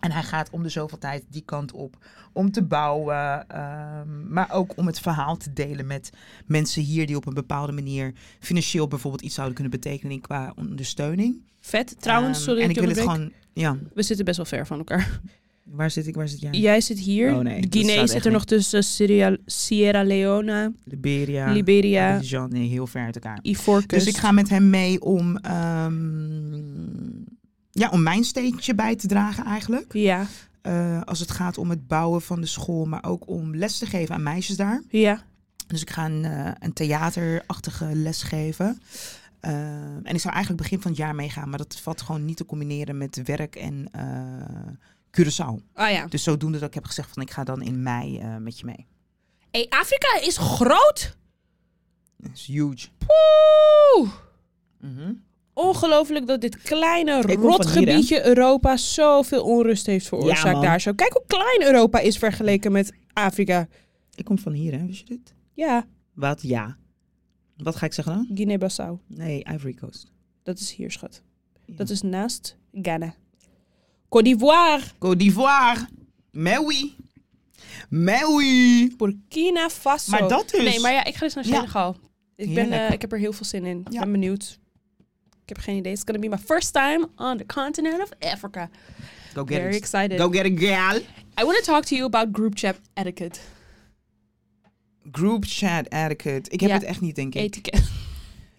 Speaker 2: En hij gaat om de zoveel tijd die kant op om te bouwen, ehm, maar ook om het verhaal te delen met mensen hier die op een bepaalde manier financieel bijvoorbeeld iets zouden kunnen betekenen qua ondersteuning.
Speaker 1: Vet. Trouwens,
Speaker 2: Ehm,
Speaker 1: sorry
Speaker 2: en
Speaker 1: dat
Speaker 2: ik
Speaker 1: je
Speaker 2: wil het
Speaker 1: onderbreek.
Speaker 2: gewoon, ja,
Speaker 1: We zitten best wel ver van elkaar.
Speaker 2: waar zit ik, waar zit jij?
Speaker 1: Jij zit hier.
Speaker 2: Oh nee, dat
Speaker 1: Guinea
Speaker 2: staat
Speaker 1: zit
Speaker 2: echt
Speaker 1: er
Speaker 2: niet.
Speaker 1: nog tussen. Syria- Sierra Leone,
Speaker 2: Liberia,
Speaker 1: Liberia,
Speaker 2: Abidjan, nee, heel ver uit elkaar.
Speaker 1: Ivoorkust.
Speaker 2: Dus ik ga met hem mee om, ehm, ja, om mijn steentje bij te dragen eigenlijk.
Speaker 1: Ja,
Speaker 2: Eh, als het gaat om het bouwen van de school, maar ook om les te geven aan meisjes daar.
Speaker 1: ja.
Speaker 2: Dus ik ga een, eh, een theaterachtige les geven. Ehm, en ik zou eigenlijk begin van het jaar meegaan, maar dat valt gewoon niet te combineren met werk en eh, Curaçao.
Speaker 1: Ah ja.
Speaker 2: Dus zodoende dat ik heb gezegd van ik ga dan in mei eh, met je mee.
Speaker 1: Hey, Afrika is groot.
Speaker 2: Dat is huge.
Speaker 1: Poeh.
Speaker 2: Mhm.
Speaker 1: Ongelooflijk dat dit kleine
Speaker 2: Ik kom van hier,
Speaker 1: rotgebiedje Europa zoveel onrust heeft veroorzaakt
Speaker 2: man.
Speaker 1: daar zo. Kijk hoe klein Europa is vergeleken met Afrika.
Speaker 2: Ik kom van hier, hè? Wist je dit?
Speaker 1: Ja,
Speaker 2: Wat? Ja. Wat ga ik zeggen dan?
Speaker 1: Guinea-Bissau.
Speaker 2: Nee, Ivory Coast.
Speaker 1: Dat is hier, schat.
Speaker 2: Ja.
Speaker 1: Dat is naast Ghana. Côte d'Ivoire,
Speaker 2: Côte d'Ivoire. Mais oui. Mais oui.
Speaker 1: Burkina Faso.
Speaker 2: Maar dat dus.
Speaker 1: Nee, maar ja, ik ga dus naar
Speaker 2: Ja.
Speaker 1: Senegal. Ik, ben,
Speaker 2: Heerlijk.
Speaker 1: eh, ik heb er heel veel zin in. Ik
Speaker 2: Ja.
Speaker 1: ben benieuwd. Ik heb geen idee. It's gonna be my first time on the continent of Africa.
Speaker 2: Go get
Speaker 1: Very
Speaker 2: it.
Speaker 1: excited.
Speaker 2: Go get it, girl.
Speaker 1: I want to talk to you about group chat etiquette.
Speaker 2: Group chat etiquette. Ik heb
Speaker 1: Ja.
Speaker 2: het echt niet, denk ik.
Speaker 1: Etiquette.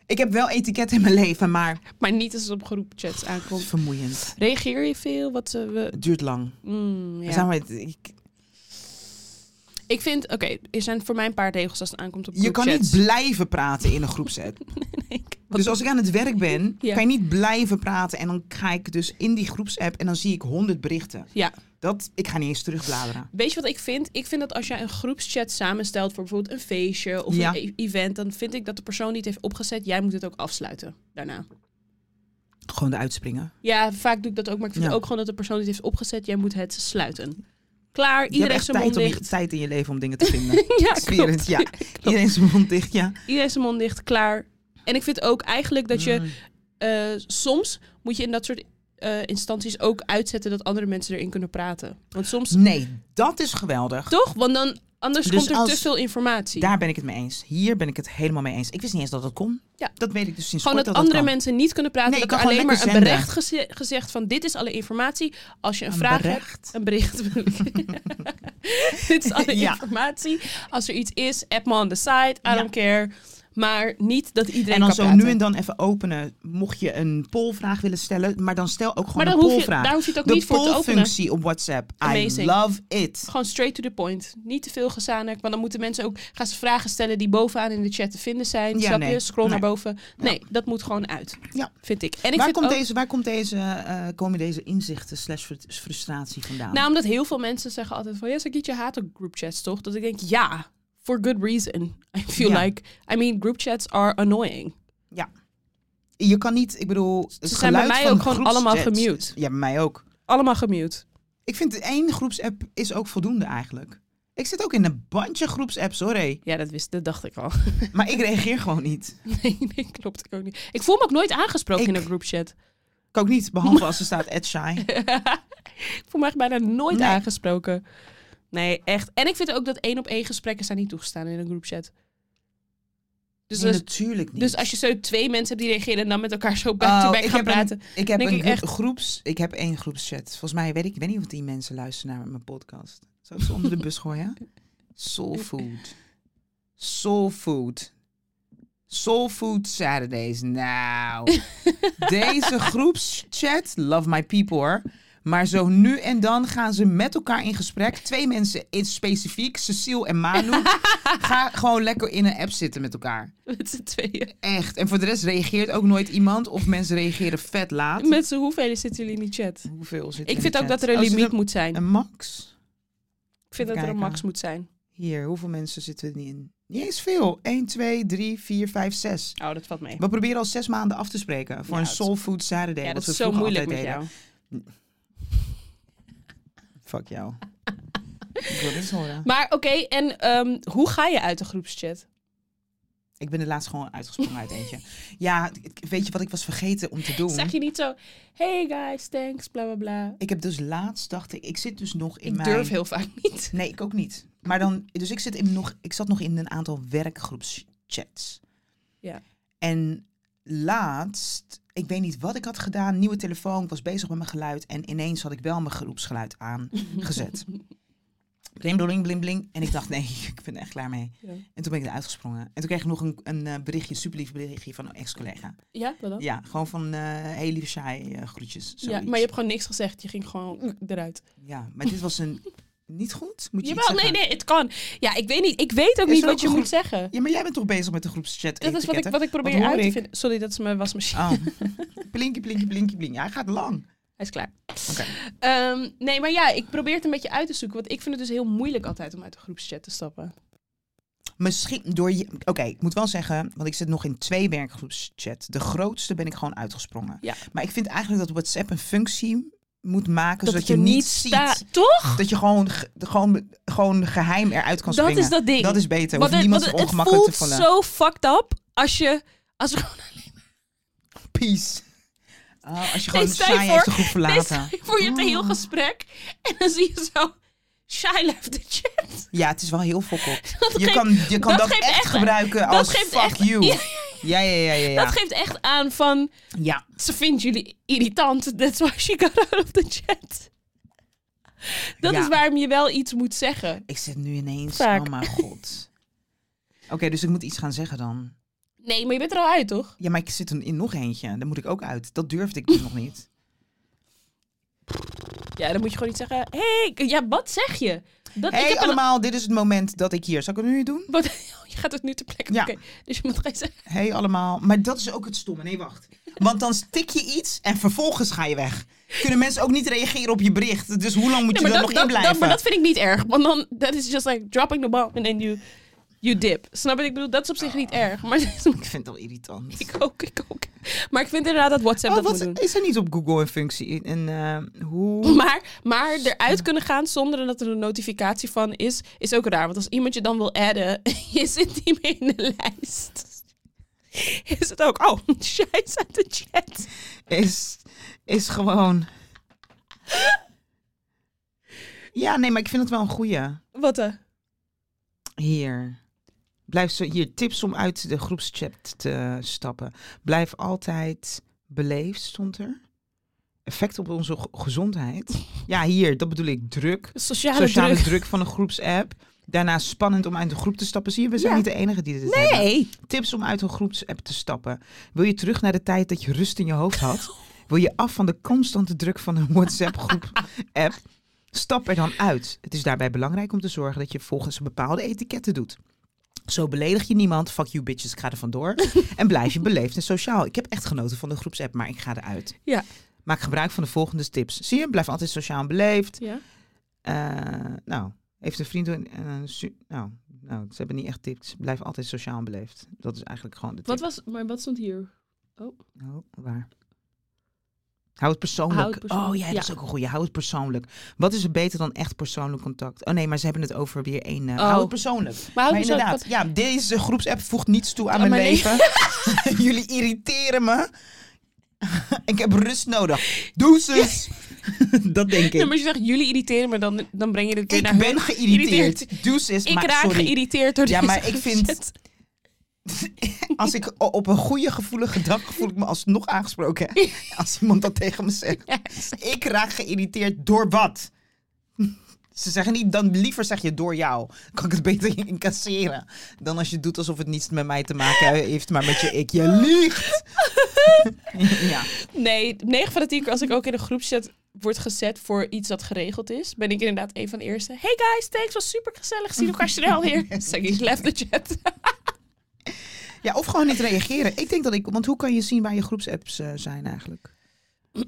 Speaker 2: Ik heb wel etiket in mijn leven, maar
Speaker 1: Maar niet als het op groepchats
Speaker 2: het
Speaker 1: aankomt.
Speaker 2: is vermoeiend.
Speaker 1: Reageer je veel? Wat eh, we.
Speaker 2: Het duurt lang.
Speaker 1: Mm,
Speaker 2: We
Speaker 1: ja.
Speaker 2: zijn maar- ik-
Speaker 1: Ik vind, oké, er zijn voor mij een paar regels als het aankomt op
Speaker 2: je kan niet
Speaker 1: groepchats.
Speaker 2: blijven praten in een groepset.
Speaker 1: Nee, ik- wat-
Speaker 2: dus als ik aan het werk ben,
Speaker 1: Ja.
Speaker 2: kan je niet blijven praten. En dan ga ik dus in die groepsapp en dan zie ik honderd berichten.
Speaker 1: Ja.
Speaker 2: Dat, ik ga niet eens terugbladeren.
Speaker 1: Weet je wat ik vind? Ik vind dat als jij een groepschat samenstelt voor bijvoorbeeld een feestje of
Speaker 2: Ja.
Speaker 1: een e- event, dan vind ik dat de persoon die het heeft opgezet, jij moet het ook afsluiten daarna.
Speaker 2: Gewoon de uitspringen.
Speaker 1: Ja, vaak doe ik dat ook, maar ik vind
Speaker 2: Ja.
Speaker 1: ook gewoon dat de persoon die het heeft opgezet, jij moet het sluiten. Klaar,
Speaker 2: Je hebt
Speaker 1: iedereen
Speaker 2: echt
Speaker 1: zijn mond
Speaker 2: tijd, om je,
Speaker 1: dicht.
Speaker 2: tijd in je leven om dingen te vinden.
Speaker 1: Ja,
Speaker 2: Ik zweer het,
Speaker 1: klopt.
Speaker 2: ja. Iedereen zijn mond dicht, ja.
Speaker 1: Iedereen zijn mond dicht, klaar. En ik vind ook eigenlijk dat je
Speaker 2: Mm.
Speaker 1: eh, soms moet je in dat soort eh, instanties ook uitzetten dat andere mensen erin kunnen praten. Want soms
Speaker 2: Nee, dat is geweldig.
Speaker 1: toch, want dan anders
Speaker 2: Dus
Speaker 1: komt er te
Speaker 2: als-
Speaker 1: veel informatie.
Speaker 2: Daar ben ik het mee eens. Hier ben ik het helemaal mee eens. Ik wist niet eens dat dat kon.
Speaker 1: Ja.
Speaker 2: Dat weet ik dus sinds
Speaker 1: Gewoon
Speaker 2: kort
Speaker 1: dat
Speaker 2: dat
Speaker 1: andere
Speaker 2: dat kan.
Speaker 1: mensen niet kunnen praten.
Speaker 2: Nee,
Speaker 1: dat
Speaker 2: je
Speaker 1: er
Speaker 2: kan
Speaker 1: alleen maar een
Speaker 2: gewoon lekker
Speaker 1: bericht geze- gezegd van dit is alle informatie. Als je een, vraag hebt,
Speaker 2: berecht.
Speaker 1: een bericht. bedoel ik. dit is alle
Speaker 2: Ja.
Speaker 1: informatie. Als er iets is, app me on the site. I
Speaker 2: Ja.
Speaker 1: don't care. Maar niet dat iedereen
Speaker 2: En dan
Speaker 1: kan
Speaker 2: zo
Speaker 1: praten.
Speaker 2: nu en dan even openen, mocht je een pollvraag willen stellen, maar dan stel ook gewoon
Speaker 1: maar dan
Speaker 2: een
Speaker 1: hoef je,
Speaker 2: pollvraag.
Speaker 1: daar hoef je het ook
Speaker 2: De
Speaker 1: niet voor te openen.
Speaker 2: pollfunctie op WhatsApp.
Speaker 1: Amazing.
Speaker 2: I love it.
Speaker 1: Gewoon straight to the point. Niet te veel gezanik. Want dan moeten mensen ook gaan ze vragen stellen die bovenaan in de chat te vinden zijn.
Speaker 2: Ja,
Speaker 1: Snap je?
Speaker 2: nee.
Speaker 1: Scroll
Speaker 2: Nee.
Speaker 1: naar boven. Nee, dat moet gewoon uit.
Speaker 2: Ja.
Speaker 1: Vind ik. En ik
Speaker 2: Waar
Speaker 1: vind
Speaker 2: komt,
Speaker 1: ook-
Speaker 2: deze, waar komt deze, eh, komen deze inzichten slash frus- frustratie vandaan?
Speaker 1: Nou, omdat heel veel mensen zeggen altijd van... Ja, Sakietje haat ook groupchats, toch? Dat ik denk, ja, for good reason. I feel
Speaker 2: Ja.
Speaker 1: like... I mean, groupchats are annoying.
Speaker 2: je kan niet, ik bedoel, het
Speaker 1: Ze zijn bij
Speaker 2: geluid
Speaker 1: mij
Speaker 2: van
Speaker 1: ook gewoon
Speaker 2: groepschats-
Speaker 1: allemaal gemute.
Speaker 2: Ja, bij mij ook.
Speaker 1: Allemaal gemute.
Speaker 2: Ik vind één groepsapp is ook voldoende eigenlijk. Ik zit ook in een bandje groepsapps, hoor. hé.
Speaker 1: Ja, dat, wist, dat dacht ik al.
Speaker 2: Maar ik reageer gewoon niet.
Speaker 1: nee, nee, klopt ik ook niet. Ik voel me ook nooit aangesproken
Speaker 2: Ik-
Speaker 1: in een groupchat.
Speaker 2: Ik ook niet, behalve als er staat at shy.
Speaker 1: Ik voel me echt bijna nooit
Speaker 2: Nee.
Speaker 1: aangesproken. Nee, echt. En ik vind ook dat één op één gesprekken zijn niet toegestaan in een groupchat. Dus,
Speaker 2: Nee,
Speaker 1: als,
Speaker 2: natuurlijk niet.
Speaker 1: dus als je zo twee mensen hebt die reageren en dan met elkaar zo back-to-back
Speaker 2: Oh, ik
Speaker 1: gaan
Speaker 2: heb een-
Speaker 1: praten.
Speaker 2: Ik heb
Speaker 1: Denk
Speaker 2: een
Speaker 1: ik
Speaker 2: groep-
Speaker 1: echt.
Speaker 2: groeps, ik heb één groepschat. Volgens mij weet ik, ik weet niet of die mensen luisteren naar mijn podcast. Zou ik ze onder de bus gooien? Soul food, soul food, soul food Saturdays. Nou, deze groepschat, love my people, hoor. Maar zo nu en dan gaan ze met elkaar in gesprek. Twee mensen in specifiek, Cecile en Manu. Ga gewoon lekker in een app zitten met elkaar.
Speaker 1: Met z'n tweeën.
Speaker 2: Echt. En voor de rest reageert ook nooit iemand. Of mensen reageren vet laat.
Speaker 1: Met z'n hoeveel zitten jullie in die chat?
Speaker 2: Hoeveel zit
Speaker 1: Ik
Speaker 2: in
Speaker 1: vind
Speaker 2: de
Speaker 1: ook
Speaker 2: chat?
Speaker 1: dat er een
Speaker 2: Oh, zit
Speaker 1: limiet moet zijn.
Speaker 2: Een max?
Speaker 1: Ik vind dat er een
Speaker 2: kijken.
Speaker 1: max moet zijn.
Speaker 2: Hier, hoeveel mensen zitten er niet in? Niet eens veel. 1, 2, 3, 4, 5, 6.
Speaker 1: Oh, dat valt mee.
Speaker 2: We proberen al zes maanden af te spreken voor
Speaker 1: Ja,
Speaker 2: een
Speaker 1: het-
Speaker 2: Soul Food Saturday.
Speaker 1: Ja, dat
Speaker 2: wat we
Speaker 1: is zo
Speaker 2: vroeger
Speaker 1: moeilijk met
Speaker 2: altijd deden.
Speaker 1: jou.
Speaker 2: Fuck jou. ik wil niks horen.
Speaker 1: Maar oké, en ehm, hoe ga je uit de groepschat?
Speaker 2: Ik ben er laatst gewoon uitgesprongen uit eentje. Ja, ik, ik, weet je wat ik was vergeten om te doen?
Speaker 1: Zeg je niet zo, hey guys, thanks, bla bla bla.
Speaker 2: Ik heb dus laatst, dacht ik, ik zit dus nog in
Speaker 1: Ik
Speaker 2: mijn...
Speaker 1: durf heel vaak niet.
Speaker 2: Nee, ik ook niet. Maar dan, dus ik, zit in nog, ik zat nog in een aantal werkgroepschats.
Speaker 1: Ja.
Speaker 2: En laatst, ik weet niet wat ik had gedaan, nieuwe telefoon, ik was bezig met mijn geluid en ineens had ik wel mijn groepsgeluid aangezet. bling, bling, bling, bling. En ik dacht, nee, ik ben er echt klaar mee.
Speaker 1: Ja.
Speaker 2: En toen ben ik eruit gesprongen. En toen kreeg ik nog een, een eh, berichtje, superlief berichtje van een ex-collega.
Speaker 1: Ja, wat dan?
Speaker 2: Ja, gewoon van eh hey, lieve Shai, eh, groetjes.
Speaker 1: Ja,
Speaker 2: zoiets.
Speaker 1: maar je hebt gewoon niks gezegd. Je ging gewoon eruit.
Speaker 2: ja, maar dit was een... Niet goed? Moet je iets
Speaker 1: Jawel, nee,
Speaker 2: zeggen?
Speaker 1: nee, het kan. Ja, ik weet niet. Ik weet ook
Speaker 2: Is
Speaker 1: niet
Speaker 2: er
Speaker 1: wat
Speaker 2: ook
Speaker 1: je
Speaker 2: een
Speaker 1: moet zeggen.
Speaker 2: Ja, maar jij bent toch bezig met de groepschat
Speaker 1: Dat is wat ik,
Speaker 2: etiketten?
Speaker 1: wat ik probeer
Speaker 2: hoor
Speaker 1: uit te
Speaker 2: ik?
Speaker 1: vinden. Sorry, dat is mijn wasmachine.
Speaker 2: Oh. plinkie, plinkie, plinkie, plinkie. Hij gaat lang.
Speaker 1: Hij is klaar.
Speaker 2: Oké.
Speaker 1: Ehm, nee, maar ja, ik probeer het een beetje uit te zoeken. Want ik vind het dus heel moeilijk altijd om uit de groepschat te stappen.
Speaker 2: Misschien door je... Oké, ik moet wel zeggen, want ik zit nog in twee werkgroepschat. De grootste ben ik gewoon uitgesprongen.
Speaker 1: Ja.
Speaker 2: Maar ik vind eigenlijk dat WhatsApp een functie moet maken zodat
Speaker 1: het
Speaker 2: je
Speaker 1: er
Speaker 2: niet
Speaker 1: sta-
Speaker 2: ziet.
Speaker 1: Toch?
Speaker 2: Dat je gewoon, ge- gewoon, gewoon geheim eruit kan
Speaker 1: Dat
Speaker 2: springen.
Speaker 1: is dat ding.
Speaker 2: Dat is beter.
Speaker 1: Want
Speaker 2: Hoeft
Speaker 1: het-
Speaker 2: niemand
Speaker 1: want
Speaker 2: zich
Speaker 1: het
Speaker 2: ongemakkelijk te
Speaker 1: voelt
Speaker 2: voelen.
Speaker 1: zo fucked up als je... Als er gewoon
Speaker 2: Peace. Oh, als je
Speaker 1: Nee,
Speaker 2: gewoon
Speaker 1: stel je
Speaker 2: saai
Speaker 1: voor-
Speaker 2: heeft de groep verlaten.
Speaker 1: is voor je het een heel
Speaker 2: Oh.
Speaker 1: gesprek. En dan zie je zo... Shy left the chat.
Speaker 2: Ja, het is wel heel fokkop.
Speaker 1: Dat
Speaker 2: Je
Speaker 1: geeft-
Speaker 2: kan, je kan
Speaker 1: dat
Speaker 2: dat,
Speaker 1: geeft
Speaker 2: echt,
Speaker 1: echt-
Speaker 2: gebruiken als
Speaker 1: geeft
Speaker 2: fuck
Speaker 1: echt-
Speaker 2: you.
Speaker 1: Ja.
Speaker 2: Ja, ja, ja, ja. ja.
Speaker 1: Dat geeft echt aan van...
Speaker 2: ja.
Speaker 1: Ze vindt jullie irritant. That's why she got out of the chat. Dat
Speaker 2: Ja.
Speaker 1: is waarom je wel iets moet zeggen.
Speaker 2: Ik zit nu ineens,
Speaker 1: Vaak.
Speaker 2: oh mijn god. Oké, dus ik moet iets gaan zeggen dan.
Speaker 1: Nee, maar je bent er al uit, toch?
Speaker 2: Ja, maar ik zit er in nog eentje. Daar moet ik ook uit. Dat durfde ik dus nog niet.
Speaker 1: Ja, dan moet je gewoon niet zeggen... Hé, hey, ja, wat zeg je? Dat,
Speaker 2: Hé hey,
Speaker 1: heb een-
Speaker 2: allemaal, dit is het moment dat ik hier... Zal ik het nu doen?
Speaker 1: Wat, Oh, je gaat het nu ter plekke.
Speaker 2: Ja.
Speaker 1: Oké, dus je moet geen zeggen.
Speaker 2: Hé hey, allemaal. Maar dat is ook het stomme. Nee, wacht. Want dan stik je iets en vervolgens ga je weg. Kunnen mensen ook niet reageren op je bericht. Dus hoe lang moet
Speaker 1: Nee,
Speaker 2: je
Speaker 1: maar,
Speaker 2: er
Speaker 1: dat,
Speaker 2: nog in
Speaker 1: dat, dat,
Speaker 2: blijven?
Speaker 1: maar dat vind ik niet erg. Want dan dat is just like dropping the ball and then you, you dip. Snap je? Ik bedoel, dat is op zich niet erg. Maar
Speaker 2: Ik vind het al irritant.
Speaker 1: ik ook, ik ook. Maar ik vind inderdaad dat WhatsApp
Speaker 2: Oh,
Speaker 1: dat
Speaker 2: wat-
Speaker 1: moet doen.
Speaker 2: is er niet op Google een functie? En eh, hoe...
Speaker 1: Maar, maar eruit kunnen gaan zonder dat er een notificatie van is, is ook raar. Want als iemand je dan wil adden, je zit niet meer in de lijst. Is het ook, oh, scheids uit de chat.
Speaker 2: is, is gewoon. Ja, nee, maar ik vind het wel een goeie.
Speaker 1: Wat eh?
Speaker 2: Hier. Blijf zo, hier, tips om uit de groepschat te stappen. Blijf altijd beleefd, stond er. Effect op onze g- gezondheid. Ja, hier, dat bedoel ik. Druk.
Speaker 1: Sociale,
Speaker 2: Sociale
Speaker 1: druk.
Speaker 2: druk. van een groepsapp. Daarna spannend om uit de groep te stappen. Zie je, we zijn
Speaker 1: Ja.
Speaker 2: niet de enige die dit hebben.
Speaker 1: Nee.
Speaker 2: Tips om uit een groepsapp te stappen. Wil je terug naar de tijd dat je rust in je hoofd had? Wil je af van de constante druk van een WhatsApp-groep-app? Stap er dan uit. Het is daarbij belangrijk om te zorgen dat je volgens een bepaalde etiketten doet. Zo beledig je niemand. Fuck you bitches, ik ga er vandoor. en blijf je beleefd en sociaal. Ik heb echt genoten van de groepsapp, maar ik ga eruit.
Speaker 1: Ja.
Speaker 2: Maak gebruik van de volgende tips. Zie je, blijf altijd sociaal en beleefd.
Speaker 1: Ja.
Speaker 2: Eh, nou, heeft een vriend... een- een su- nou, nou, ze hebben niet echt tips. Blijf altijd sociaal en beleefd. Dat is eigenlijk gewoon de tip.
Speaker 1: Wat was, maar wat stond hier?
Speaker 2: Oh, waar? Hou het persoonlijk.
Speaker 1: Hou het persoonlijk,
Speaker 2: Oh ja, dat is
Speaker 1: ja.
Speaker 2: ook een goeie. Hou het persoonlijk. Wat is er beter dan echt persoonlijk contact? Oh nee, maar ze hebben het over weer één. eh,
Speaker 1: Oh.
Speaker 2: Hou het persoonlijk.
Speaker 1: Maar,
Speaker 2: maar
Speaker 1: hou zo-
Speaker 2: inderdaad, ja, deze groepsapp voegt niets toe aan
Speaker 1: Aan
Speaker 2: mijn
Speaker 1: mijn
Speaker 2: leven. Jullie irriteren me. ik heb rust nodig. Doeses. dat denk
Speaker 1: Nee,
Speaker 2: ik.
Speaker 1: maar als je zegt, jullie irriteren me, dan, dan breng je het weer naar
Speaker 2: Ik ben
Speaker 1: hun.
Speaker 2: geïrriteerd. Doeses.
Speaker 1: Ik
Speaker 2: maar
Speaker 1: raak
Speaker 2: sorry.
Speaker 1: geïrriteerd door
Speaker 2: Ja,
Speaker 1: deze
Speaker 2: maar ik vind-
Speaker 1: shit.
Speaker 2: Als ik o- op een goede gevoelige dag voel ik me alsnog aangesproken. hè. Als iemand dat tegen me zegt. Ik raak geïrriteerd door wat? Ze zeggen niet, dan liever zeg je door jou. Kan ik het beter incasseren. Dan als je doet alsof het niets met mij te maken heeft, maar met je ik. Je liegt. ja.
Speaker 1: Nee, 9 van de 10 keer als ik ook in een groepchat word gezet voor iets dat geregeld is, ben ik inderdaad een van de eerste. Hey guys, thanks, was super gezellig. Zien elkaar snel weer. Zeg ik, left the chat.
Speaker 2: ja, of gewoon niet reageren. Ik denk dat ik, want hoe kan je zien waar je groepsapps eh, zijn eigenlijk?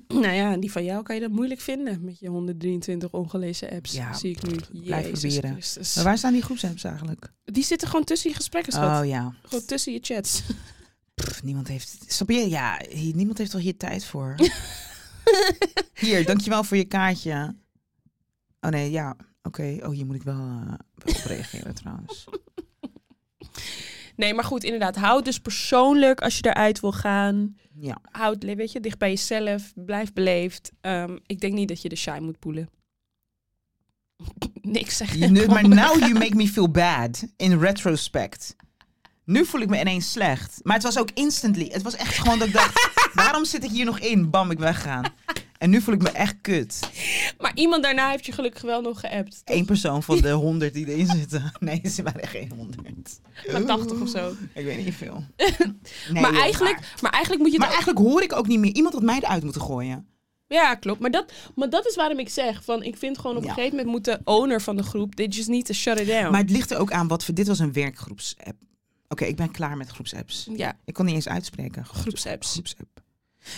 Speaker 1: nou ja, die van jou kan je dat moeilijk vinden met je 123 ongelezen apps.
Speaker 2: Ja,
Speaker 1: zie ik nu.
Speaker 2: blijf
Speaker 1: Jezus
Speaker 2: proberen.
Speaker 1: Christus.
Speaker 2: Maar waar staan die groepsapps eigenlijk?
Speaker 1: Die zitten gewoon tussen je gesprekken, schat.
Speaker 2: Oh ja.
Speaker 1: Gewoon tussen je chats.
Speaker 2: Pff, niemand heeft. Snap je? Ja, hier- niemand heeft toch hier tijd voor. hier, dankjewel voor je kaartje. Oh nee, ja. Oké. Oh, hier moet ik wel eh, wel op reageren trouwens.
Speaker 1: Nee, maar goed, inderdaad. Houd dus persoonlijk als je eruit wil gaan.
Speaker 2: Ja.
Speaker 1: Houd, weet je, dicht bij jezelf. Blijf beleefd. Ehm, ik denk niet dat je de shy moet poelen. Niks zeg
Speaker 2: Je- nu- maar now you make me feel bad in retrospect. Nu voel ik me ineens slecht. Maar het was ook instantly. Het was echt gewoon dat ik dacht, waarom zit ik hier nog in? Bam, ik weggaan. En nu voel ik me echt kut.
Speaker 1: Maar iemand daarna heeft je gelukkig wel nog geappt.
Speaker 2: Eén persoon van de honderd die erin zitten. Nee, ze waren echt geen honderd.
Speaker 1: Maar 80 of zo.
Speaker 2: Ik weet niet veel.
Speaker 1: maar, eigenlijk, maar eigenlijk moet je het
Speaker 2: Maar eigenlijk hoor ik ook niet meer iemand had mij eruit moeten gooien.
Speaker 1: Ja, klopt. Maar dat, maar dat is waarom ik zeg: van ik vind gewoon op
Speaker 2: Ja.
Speaker 1: een gegeven moment moet de owner van de groep dit just niet te shut it down.
Speaker 2: Maar het ligt er ook aan wat voor. Dit was een werkgroepsapp. Oké, ik ben klaar met groepsapps.
Speaker 1: ja,
Speaker 2: Ik kon niet eens uitspreken. Groeps-
Speaker 1: groepsapps.
Speaker 2: Groepsapp.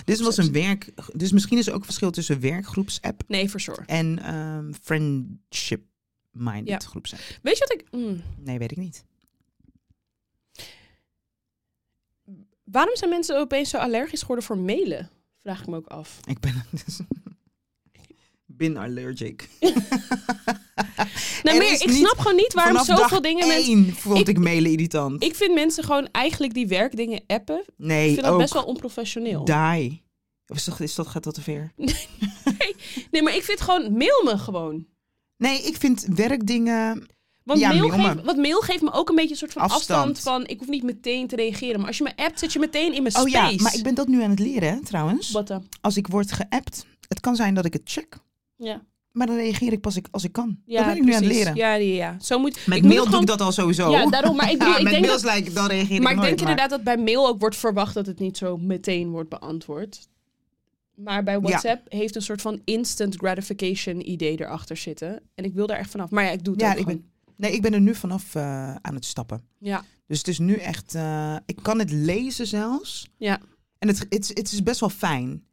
Speaker 2: Dit was een werk. Dus misschien is er ook verschil tussen werkgroepsapp
Speaker 1: Nee, voor zorg.
Speaker 2: en ehm,
Speaker 1: Ja.
Speaker 2: friendship-minded groepsapp.
Speaker 1: Weet je wat ik. mm,
Speaker 2: Nee, weet ik niet.
Speaker 1: waarom zijn mensen opeens zo allergisch geworden voor mailen? Vraag ik me ook af.
Speaker 2: Ik ben dus. Bin allergic.
Speaker 1: Nou,
Speaker 2: Er
Speaker 1: meer,
Speaker 2: is
Speaker 1: ik
Speaker 2: niet
Speaker 1: snap gewoon niet waarom
Speaker 2: Vanaf
Speaker 1: zoveel
Speaker 2: dag
Speaker 1: dingen mensen.
Speaker 2: één vond ik,
Speaker 1: Ik-
Speaker 2: mailen irritant.
Speaker 1: Ik vind mensen gewoon eigenlijk die werkdingen appen.
Speaker 2: nee,
Speaker 1: Ik vind dat
Speaker 2: ook
Speaker 1: best wel onprofessioneel.
Speaker 2: die. Of is dat, is dat, gaat dat te ver?
Speaker 1: nee, maar ik vind gewoon mail me gewoon.
Speaker 2: Nee, ik vind werkdingen...
Speaker 1: Want
Speaker 2: Ja,
Speaker 1: mail
Speaker 2: mail me.
Speaker 1: geeft, want mail geeft me ook een beetje een soort van afstand.
Speaker 2: Afstand.
Speaker 1: van ik hoef niet meteen te reageren. Maar als je me appt, zit je meteen in mijn
Speaker 2: Oh
Speaker 1: space.
Speaker 2: ja, maar ik ben dat nu aan het leren hè, trouwens.
Speaker 1: Wat dan?
Speaker 2: Als ik word geappt, het kan zijn dat ik het check.
Speaker 1: Ja.
Speaker 2: Maar dan reageer ik pas ik, als ik kan.
Speaker 1: Ja,
Speaker 2: dat ben ik nu aan het
Speaker 1: precies.
Speaker 2: leren.
Speaker 1: Ja, ja, ja. Zo moet,
Speaker 2: Met
Speaker 1: ik moet
Speaker 2: mail
Speaker 1: het
Speaker 2: doe
Speaker 1: gewoon-
Speaker 2: ik dat al sowieso.
Speaker 1: Ja, daarom. Maar ik, bedoel,
Speaker 2: Ja,
Speaker 1: ik
Speaker 2: met
Speaker 1: denk
Speaker 2: mails
Speaker 1: dat,
Speaker 2: lijkt, dan reageer ik
Speaker 1: maar ik
Speaker 2: nooit,
Speaker 1: denk inderdaad dat bij mail ook wordt verwacht dat het niet zo meteen wordt beantwoord. Maar bij WhatsApp heeft een soort van instant gratification idee erachter zitten. En ik wil daar echt vanaf. Maar ja, ik doe het
Speaker 2: Ja,
Speaker 1: ook
Speaker 2: ik
Speaker 1: gewoon.
Speaker 2: ben, nee, ik ben er nu vanaf eh, aan het stappen.
Speaker 1: Ja.
Speaker 2: Dus het is nu echt... eh, ik kan het lezen zelfs.
Speaker 1: Ja.
Speaker 2: En het, het, het is best wel fijn.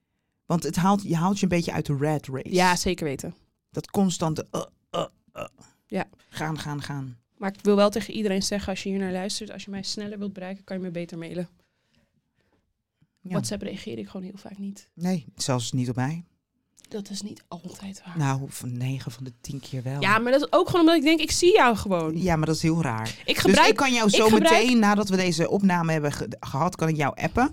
Speaker 2: Want het haalt, je haalt je een beetje uit de red race.
Speaker 1: ja, zeker weten.
Speaker 2: Dat constante... eh, eh, eh.
Speaker 1: Ja.
Speaker 2: Gaan, gaan, gaan.
Speaker 1: Maar ik wil wel tegen iedereen zeggen, als je hier naar luistert, als je mij sneller wilt bereiken, kan je me beter mailen.
Speaker 2: Ja.
Speaker 1: WhatsApp reageer ik gewoon heel vaak niet.
Speaker 2: Nee, zelfs niet op mij.
Speaker 1: Dat is niet altijd waar.
Speaker 2: Nou, van 9 van de 10 keer wel.
Speaker 1: Ja, maar dat is ook gewoon omdat ik denk, ik zie jou gewoon.
Speaker 2: Ja, maar dat is heel raar.
Speaker 1: Ik
Speaker 2: dus
Speaker 1: gebruik
Speaker 2: ik kan jou zo
Speaker 1: gebruik-
Speaker 2: meteen, nadat we deze opname hebben ge- gehad, kan ik jou appen.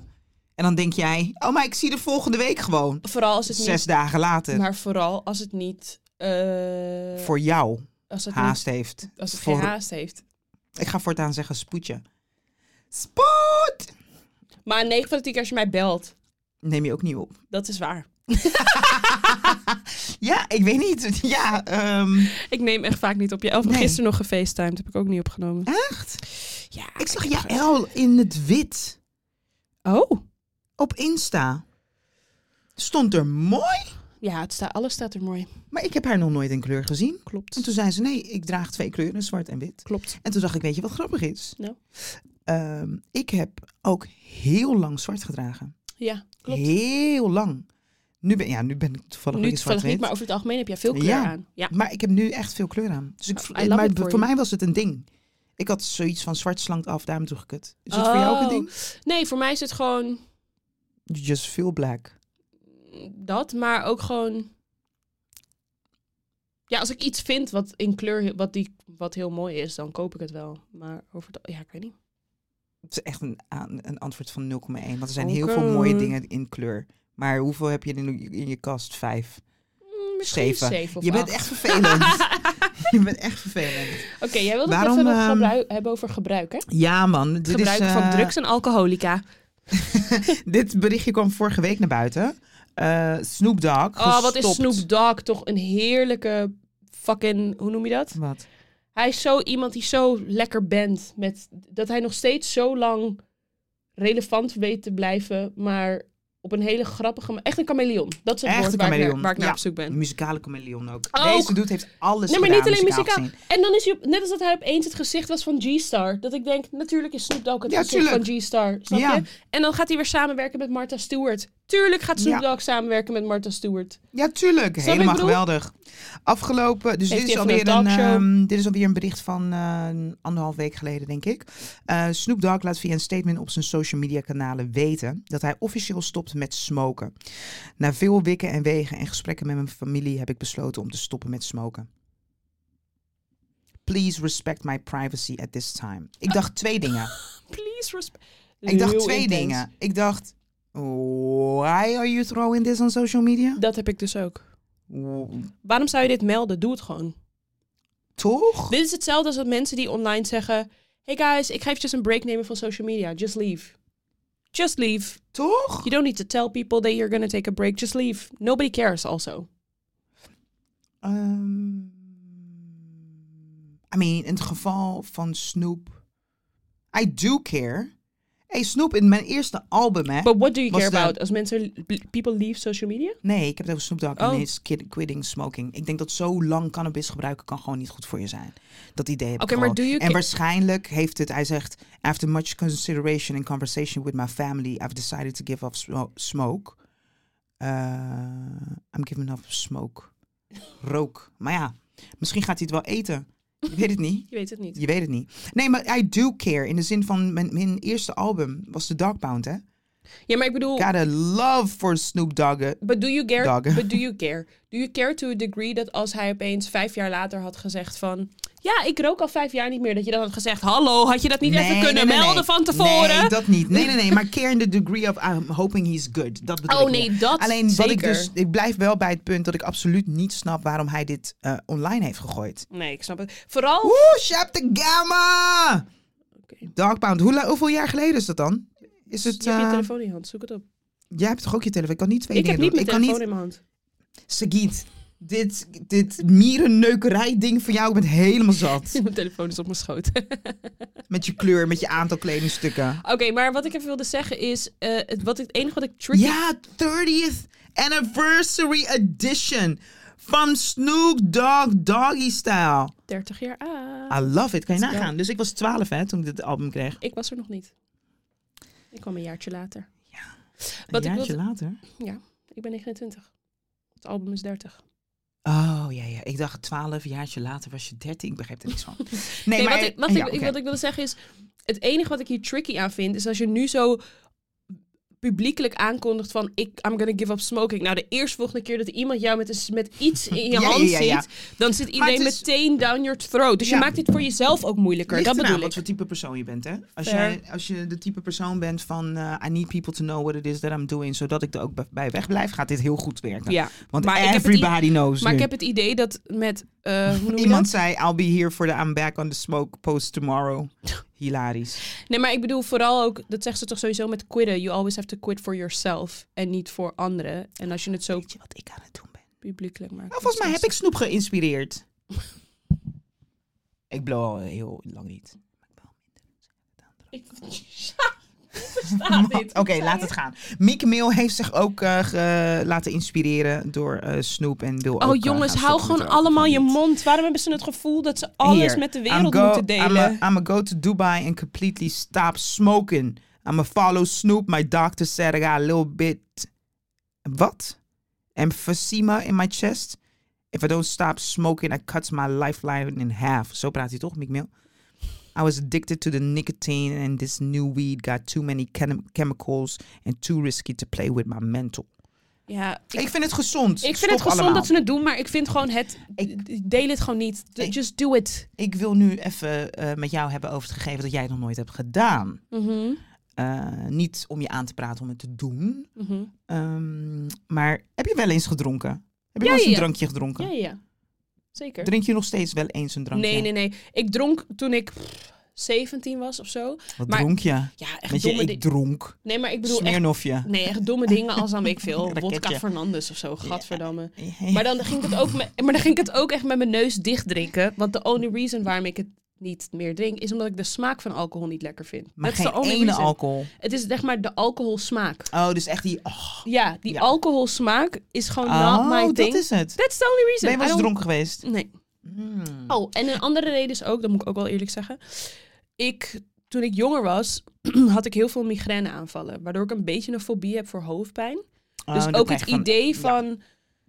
Speaker 2: En dan denk jij, oh, maar ik zie de volgende week gewoon.
Speaker 1: Vooral als het
Speaker 2: Zes
Speaker 1: niet...
Speaker 2: dagen later.
Speaker 1: Maar vooral als het niet... eh,
Speaker 2: voor jou
Speaker 1: als het, niet,
Speaker 2: haast heeft.
Speaker 1: als het
Speaker 2: voor-
Speaker 1: geen haast heeft.
Speaker 2: Ik ga voortaan zeggen spoedje. Spoed!
Speaker 1: Maar 9 van de 10 keer als je mij belt,
Speaker 2: Neem je ook niet op.
Speaker 1: dat is waar.
Speaker 2: Ja, ik weet niet. Ja, ehm,
Speaker 1: Ik neem echt vaak niet op. Je elf
Speaker 2: Nee.
Speaker 1: gisteren nog gefacetimed, heb ik ook niet opgenomen.
Speaker 2: echt?
Speaker 1: Ja.
Speaker 2: Ik zag Jaël in het wit
Speaker 1: Oh.
Speaker 2: op Insta. Stond er mooi,
Speaker 1: Ja, het staat, alles staat er mooi.
Speaker 2: maar ik heb haar nog nooit in kleur gezien. En
Speaker 1: Klopt.
Speaker 2: toen zei ze, nee, ik draag twee kleuren, zwart en wit.
Speaker 1: Klopt.
Speaker 2: En toen dacht ik, weet je wat grappig is?
Speaker 1: Nou.
Speaker 2: Ehm, ik heb ook heel lang zwart gedragen.
Speaker 1: Ja, klopt.
Speaker 2: Heel lang. Nu ben, ja, nu ben ik toevallig
Speaker 1: Nu
Speaker 2: weer zwart
Speaker 1: toevallig
Speaker 2: wit.
Speaker 1: niet, maar over het algemeen heb jij veel kleur
Speaker 2: Ja.
Speaker 1: aan. Ja.
Speaker 2: Maar ik heb nu echt veel kleur aan. Dus ik,
Speaker 1: I
Speaker 2: v-
Speaker 1: love
Speaker 2: maar
Speaker 1: it
Speaker 2: b-
Speaker 1: for
Speaker 2: voor,
Speaker 1: you.
Speaker 2: mij was het een ding. Ik had zoiets van zwart slankt af, daarom droeg ik het. Is het voor jou ook een
Speaker 1: Oh.
Speaker 2: ding?
Speaker 1: Nee, voor mij is het gewoon
Speaker 2: You just feel black.
Speaker 1: dat, maar ook gewoon... Ja, als ik iets vind wat in kleur, wat, die, wat heel mooi is, dan koop ik het wel. Maar over het... Ja, ik weet niet.
Speaker 2: Het is echt een, aan- een antwoord van 0,1. Want er zijn
Speaker 1: Oké.
Speaker 2: heel veel mooie dingen in kleur. Maar hoeveel heb je in, in je kast? Vijf.
Speaker 1: Mm, Misschien
Speaker 2: Zeven.
Speaker 1: zeven of
Speaker 2: Je bent
Speaker 1: acht.
Speaker 2: echt vervelend. je bent echt vervelend.
Speaker 1: Oké, jij wilde
Speaker 2: Waarom,
Speaker 1: het even over
Speaker 2: ehm,
Speaker 1: gebruik- hebben over gebruik, hè?
Speaker 2: Ja man, dit
Speaker 1: Gebruik
Speaker 2: is,
Speaker 1: van
Speaker 2: eh,
Speaker 1: drugs en alcoholica.
Speaker 2: Dit berichtje kwam vorige week naar buiten. Eh Snoop Dogg.
Speaker 1: Oh, wat is
Speaker 2: gestopt.
Speaker 1: Snoop Dogg toch een heerlijke fucking... Hoe noem je dat?
Speaker 2: Wat?
Speaker 1: Hij is zo iemand die zo lekker bent. Met, dat hij nog steeds zo lang relevant weet te blijven. Maar op een hele grappige... ma- Echt een chameleon. Dat is het
Speaker 2: Echt
Speaker 1: woord
Speaker 2: een
Speaker 1: waar ik, naar,
Speaker 2: chameleon,
Speaker 1: waar ik naar
Speaker 2: ja.
Speaker 1: op zoek ben.
Speaker 2: Een muzikale chameleon ook.
Speaker 1: Ook.
Speaker 2: Deze doet heeft alles
Speaker 1: Nee, maar
Speaker 2: gedaan,
Speaker 1: niet alleen
Speaker 2: muzikaal
Speaker 1: muzikaal.
Speaker 2: gezien.
Speaker 1: En dan is hij, op- net als dat hij opeens het gezicht was van G-Star. Dat ik denk, natuurlijk is Snoop Dogg het
Speaker 2: Ja,
Speaker 1: gezicht
Speaker 2: tuurlijk.
Speaker 1: van G-Star. Snap
Speaker 2: Ja.
Speaker 1: je? En dan gaat hij weer samenwerken met Martha Stewart. Tuurlijk gaat Snoop
Speaker 2: Ja.
Speaker 1: Dogg samenwerken met Martha Stewart.
Speaker 2: Ja, tuurlijk.
Speaker 1: Snap je
Speaker 2: Helemaal
Speaker 1: wat ik
Speaker 2: geweldig. Afgelopen, dus
Speaker 1: Heeft
Speaker 2: dit is,
Speaker 1: hij even
Speaker 2: alweer
Speaker 1: een
Speaker 2: een,
Speaker 1: talkshow?
Speaker 2: ehm, dit is alweer een bericht van eh, anderhalf week geleden, denk ik. Eh, Snoop Dogg laat via een statement op zijn social media kanalen weten dat hij officieel stopt met smoken. Na veel wikken en wegen en gesprekken met mijn familie heb ik besloten om te stoppen met smoken. Please respect my privacy at this time. Ik dacht twee dingen.
Speaker 1: please respect.
Speaker 2: Ik dacht
Speaker 1: Heel
Speaker 2: twee
Speaker 1: intens.
Speaker 2: dingen. Ik dacht, why are you throwing this on social media?
Speaker 1: Dat heb ik dus ook.
Speaker 2: W-
Speaker 1: Waarom zou je dit melden? Doe het gewoon.
Speaker 2: Toch?
Speaker 1: Dit is hetzelfde als dat mensen die online zeggen... Hey guys, ik ga eventjes een break nemen van social media. Just leave. Just leave.
Speaker 2: Toch?
Speaker 1: You don't need to tell people that you're gonna take a break. Just leave. Nobody cares also.
Speaker 2: Ehm, I mean, in het geval van Snoop, I do care. Hey, Snoop, in mijn eerste album, hè?
Speaker 1: But what do you
Speaker 2: Was
Speaker 1: care
Speaker 2: de-
Speaker 1: about? Als mensen... People leave social media?
Speaker 2: Nee, ik heb het over Snoop Dogg
Speaker 1: Oh.
Speaker 2: en his kid- quitting smoking. Ik denk dat zo lang cannabis gebruiken kan gewoon niet goed voor je zijn. Dat idee heb ik
Speaker 1: Oké, maar
Speaker 2: gewoon.
Speaker 1: do you
Speaker 2: En
Speaker 1: ca-
Speaker 2: waarschijnlijk heeft het, hij zegt... After much consideration and conversation with my family... I've decided to give up smo- smoke. Eh, I'm giving up smoke. Rook. Maar ja, misschien gaat hij het wel eten. Ik weet het niet.
Speaker 1: Je weet het niet.
Speaker 2: Je weet het niet. Nee, maar I do care. In de zin van mijn, mijn eerste album was The Dog Pound, hè?
Speaker 1: Ja, maar ik bedoel...
Speaker 2: Got a love for Snoop Dogg.
Speaker 1: But do you care?
Speaker 2: Doggen.
Speaker 1: But do you care? Do you care to a degree dat als hij opeens vijf jaar later had gezegd van... Ja, ik rook al vijf jaar niet meer. Dat je dan had gezegd, hallo, had je dat niet even kunnen
Speaker 2: nee, nee.
Speaker 1: melden van tevoren?
Speaker 2: Nee, dat niet. Nee, nee, nee. Maar care in the degree of I'm hoping he's good. Dat bedoel
Speaker 1: Oh,
Speaker 2: ik meer.
Speaker 1: nee, dat
Speaker 2: Alleen wat ik
Speaker 1: zeker.
Speaker 2: dus... Ik blijf wel bij het punt dat ik absoluut niet snap waarom hij dit eh, online heeft gegooid.
Speaker 1: Nee, ik snap het. Vooral...
Speaker 2: Oeh, Shep de Gamma!
Speaker 1: Oké.
Speaker 2: Dark Pound. Hoe la- hoeveel jaar geleden is dat dan? Is het...
Speaker 1: Je hebt je
Speaker 2: eh,
Speaker 1: telefoon in je hand, zoek het op.
Speaker 2: jij hebt toch ook je telefoon? Ik kan niet twee
Speaker 1: Ik heb
Speaker 2: dingen
Speaker 1: niet
Speaker 2: doen.
Speaker 1: mijn
Speaker 2: Ik kan
Speaker 1: telefoon
Speaker 2: niet...
Speaker 1: in mijn hand.
Speaker 2: Sagiet, dit, dit mierenneukerij ding van jou, ik ben het helemaal zat.
Speaker 1: Mijn telefoon is op mijn schoot.
Speaker 2: Met je kleur, met je aantal kledingstukken.
Speaker 1: Oké, maar wat ik even wilde zeggen is... eh, het, wat ik, het enige wat ik tricky...
Speaker 2: Ja, 30th anniversary edition van Snoop Dogg Doggy Style.
Speaker 1: 30 jaar ah. aan.
Speaker 2: I love it. Kan je
Speaker 1: Let's go.
Speaker 2: nagaan. Dus ik was 12 hè, toen ik dit album kreeg.
Speaker 1: Ik was er nog niet. Ik kwam een jaartje later.
Speaker 2: Een
Speaker 1: Wat ik
Speaker 2: jaartje
Speaker 1: wilde-
Speaker 2: later.
Speaker 1: Ik ben 29. Het album is 30.
Speaker 2: Oh ja, ja. Ik dacht 12 jaartje later was je 13. Ik begreep er niks van. Nee,
Speaker 1: Nee,
Speaker 2: maar
Speaker 1: wat, ik, wat, ik,
Speaker 2: ja,
Speaker 1: ik-
Speaker 2: oké.
Speaker 1: wat ik wilde zeggen is... Het enige wat ik hier tricky aan vind... is als je nu zo publiekelijk aankondigt van... Ik, I'm gonna give up smoking. Nou, de eerstvolgende keer dat iemand jou met, een s- met iets in je
Speaker 2: Ja, ja,
Speaker 1: hand
Speaker 2: ja, ja.
Speaker 1: zit... dan zit
Speaker 2: het
Speaker 1: iedereen
Speaker 2: is-
Speaker 1: meteen down your throat. Dus
Speaker 2: Ja.
Speaker 1: je maakt dit voor jezelf ook moeilijker.
Speaker 2: Ligt
Speaker 1: dat
Speaker 2: eraan
Speaker 1: bedoel
Speaker 2: wat
Speaker 1: ik.
Speaker 2: voor type persoon je bent, hè? Als,
Speaker 1: Fair.
Speaker 2: jij, als je de type persoon bent van... eh, I need people to know what it is that I'm doing... zodat ik er ook bij- bij weg blijf, gaat dit heel goed werken.
Speaker 1: Ja.
Speaker 2: Want
Speaker 1: Maar ik heb het i-
Speaker 2: everybody knows
Speaker 1: Maar
Speaker 2: nu.
Speaker 1: ik heb het idee dat met... eh, hoe noem je
Speaker 2: Iemand
Speaker 1: dat?
Speaker 2: zei, I'll be here for the I'm back on the smoke post tomorrow. Hilarisch.
Speaker 1: Nee, maar ik bedoel vooral ook... Dat zegt ze toch sowieso met quitten. You always have to quit for yourself. En niet voor anderen. En als je het zo
Speaker 2: Weet je wat ik aan het doen ben?
Speaker 1: publiekelijk maakt...
Speaker 2: Nou, volgens mij
Speaker 1: dan
Speaker 2: heb ik Snoep geïnspireerd. ik blow al heel lang niet.
Speaker 1: Ik versta dit.
Speaker 2: Oké, laat het gaan. Mieke Meel heeft zich ook eh, ge- laten inspireren door eh Snoep en wil ook...
Speaker 1: Oh
Speaker 2: eh,
Speaker 1: jongens,
Speaker 2: gaan
Speaker 1: hou
Speaker 2: stoppen met
Speaker 1: gewoon
Speaker 2: roken
Speaker 1: allemaal
Speaker 2: van
Speaker 1: je
Speaker 2: wiet.
Speaker 1: mond. Waarom hebben ze het gevoel dat ze alles
Speaker 2: Hier,
Speaker 1: met de wereld
Speaker 2: I'm go-
Speaker 1: moeten delen?
Speaker 2: I'm going go to Dubai and completely stop smoking. I'm a follow Snoop. My doctor said I got a little bit... Wat? Emphysema in my chest. If I don't stop smoking, I cut my lifeline in half. Zo praat hij toch, Mick Mill? I was addicted to the nicotine and this new weed got too many chem- chemicals and too risky to play with my mental.
Speaker 1: ja, ik,
Speaker 2: Ik, vind het gezond.
Speaker 1: ik
Speaker 2: Stop
Speaker 1: vind het gezond
Speaker 2: allemaal.
Speaker 1: dat ze het doen, maar ik vind gewoon het... deel het gewoon niet. D-
Speaker 2: Ik-
Speaker 1: Just do it.
Speaker 2: Ik wil nu even eh, met jou hebben over het gegeven dat jij het nog nooit hebt gedaan.
Speaker 1: Mhm,
Speaker 2: Eh, niet om je aan te praten om het te doen.
Speaker 1: mhm.
Speaker 2: Ehm, maar heb je wel eens gedronken? Heb
Speaker 1: Ja,
Speaker 2: je wel eens een
Speaker 1: ja, ja.
Speaker 2: drankje
Speaker 1: Ja,
Speaker 2: gedronken?
Speaker 1: ja, ja. Zeker.
Speaker 2: Drink je nog steeds wel eens een drankje?
Speaker 1: Nee, nee, nee. Ik dronk toen ik pff, 17 was of zo.
Speaker 2: Wat
Speaker 1: maar-
Speaker 2: dronk je?
Speaker 1: Ja, echt
Speaker 2: Weet je,
Speaker 1: domme
Speaker 2: ik
Speaker 1: dingen.
Speaker 2: dronk.
Speaker 1: Nee, maar ik bedoel echt...
Speaker 2: Smeernofje.
Speaker 1: Nee, echt domme dingen als dan weet ik veel.
Speaker 2: Raketje.
Speaker 1: Wodka Fernandes of zo. Gadverdamme.
Speaker 2: Ja.
Speaker 1: Maar dan ging ik het ook, me- maar dan ging ik het ook echt met mijn neus dicht drinken. Want de only reason waarom ik het niet meer drink, is omdat ik de smaak van alcohol niet lekker vind.
Speaker 2: Maar
Speaker 1: Dat is de
Speaker 2: geen
Speaker 1: only
Speaker 2: ene
Speaker 1: reason.
Speaker 2: alcohol.
Speaker 1: Het is zeg maar de alcoholsmaak.
Speaker 2: Oh, dus echt die... Oh,
Speaker 1: Ja, die
Speaker 2: Ja.
Speaker 1: alcoholsmaak is gewoon not
Speaker 2: Oh,
Speaker 1: my
Speaker 2: dat
Speaker 1: thing.
Speaker 2: is het.
Speaker 1: That's the only reason.
Speaker 2: Ben je wel
Speaker 1: I
Speaker 2: eens
Speaker 1: don't-
Speaker 2: dronken geweest?
Speaker 1: Nee.
Speaker 2: Mm.
Speaker 1: Oh, en een andere reden is ook, dat moet ik ook wel eerlijk zeggen. Ik, toen ik jonger was, had ik heel veel migraineaanvallen. Waardoor ik een beetje een fobie heb voor hoofdpijn.
Speaker 2: Oh,
Speaker 1: Dus
Speaker 2: dan
Speaker 1: ook
Speaker 2: krijg
Speaker 1: het
Speaker 2: je van-
Speaker 1: idee
Speaker 2: ja.
Speaker 1: van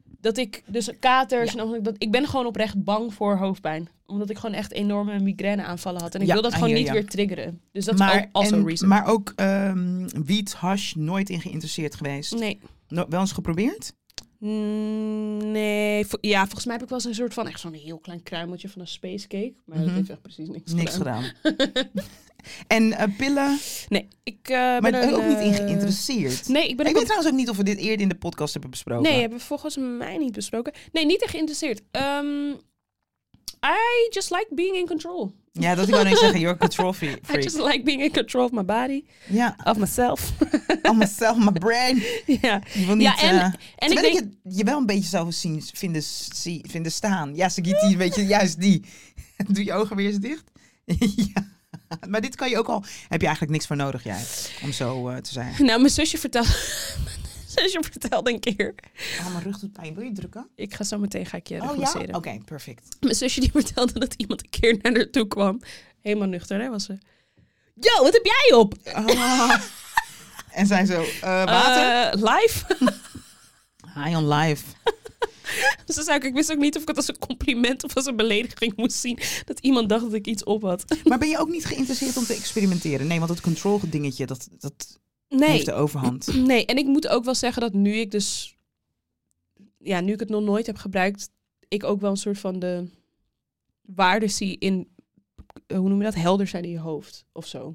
Speaker 1: dat ik dus katers en ook dat ik ben gewoon oprecht bang voor hoofdpijn, omdat ik gewoon echt enorme migraineaanvallen had en ik
Speaker 2: Ja,
Speaker 1: wil dat
Speaker 2: I
Speaker 1: gewoon
Speaker 2: hear
Speaker 1: niet
Speaker 2: ya.
Speaker 1: weer triggeren. Dus dat is
Speaker 2: maar,
Speaker 1: ook also
Speaker 2: en-
Speaker 1: a reason.
Speaker 2: maar ook ehm wiet, hash, nooit in geïnteresseerd geweest.
Speaker 1: nee,
Speaker 2: No- wel eens geprobeerd?
Speaker 1: Mm, Nee, vo- ja, volgens mij heb ik wel zo'n soort van echt zo'n heel klein kruimeltje van een spacecake. Maar dat
Speaker 2: Mhm.
Speaker 1: heeft echt precies niks,
Speaker 2: Niks gedaan. en eh, pillen,
Speaker 1: Nee, ik eh, ben
Speaker 2: maar
Speaker 1: er
Speaker 2: ook niet in
Speaker 1: eh,
Speaker 2: geïnteresseerd.
Speaker 1: Nee, ik ben
Speaker 2: ik
Speaker 1: ook
Speaker 2: weet trouwens ook niet of we dit eerder in de podcast hebben besproken.
Speaker 1: Nee, hebben we volgens mij niet besproken. Nee, niet echt geïnteresseerd. Ehm, I just like being in control.
Speaker 2: Ja, dat ik wel niet zeggen, you're a control fre-
Speaker 1: I
Speaker 2: freak.
Speaker 1: just like being in control of my body,
Speaker 2: Ja,
Speaker 1: of myself.
Speaker 2: on myself, my brain.
Speaker 1: ja.
Speaker 2: Je wil niet,
Speaker 1: ja, en,
Speaker 2: eh,
Speaker 1: en ik
Speaker 2: terwijl ik
Speaker 1: denk...
Speaker 2: je, je wel een beetje zou zien, vinden, zie- vinden staan. Ja, Sagiti, een beetje juist die. Doe je ogen weer eens dicht. ja. Maar dit kan je ook al... Heb je eigenlijk niks voor nodig, jij, om zo eh, te zijn.
Speaker 1: Nou, mijn zusje vertelde... mijn zusje vertelde een keer...
Speaker 2: Oh, mijn rug doet pijn. Wil je drukken?
Speaker 1: Ik ga zo meteen ga ik je
Speaker 2: Oh ja? Oké,
Speaker 1: recenseren.
Speaker 2: perfect.
Speaker 1: Mijn zusje die vertelde dat iemand een keer naar haar toe kwam. Helemaal nuchter, hè, was ze. Yo, wat heb jij op?
Speaker 2: Ah. en zijn zo... eh, water?
Speaker 1: Eh, live?
Speaker 2: High on life.
Speaker 1: ze zei ook, ik wist ook niet of ik het als een compliment of als een belediging moest zien. Dat iemand dacht dat ik iets op had.
Speaker 2: Maar ben je ook niet geïnteresseerd om te experimenteren? Nee, want dat control dingetje, dat, dat heeft
Speaker 1: Nee,
Speaker 2: de overhand.
Speaker 1: nee. En ik moet ook wel zeggen dat nu ik dus... Ja, nu ik het nog nooit heb gebruikt... Ik ook wel een soort van de waarde zie in... eh, Hoe noem je dat? Helder zijn in je hoofd of zo. En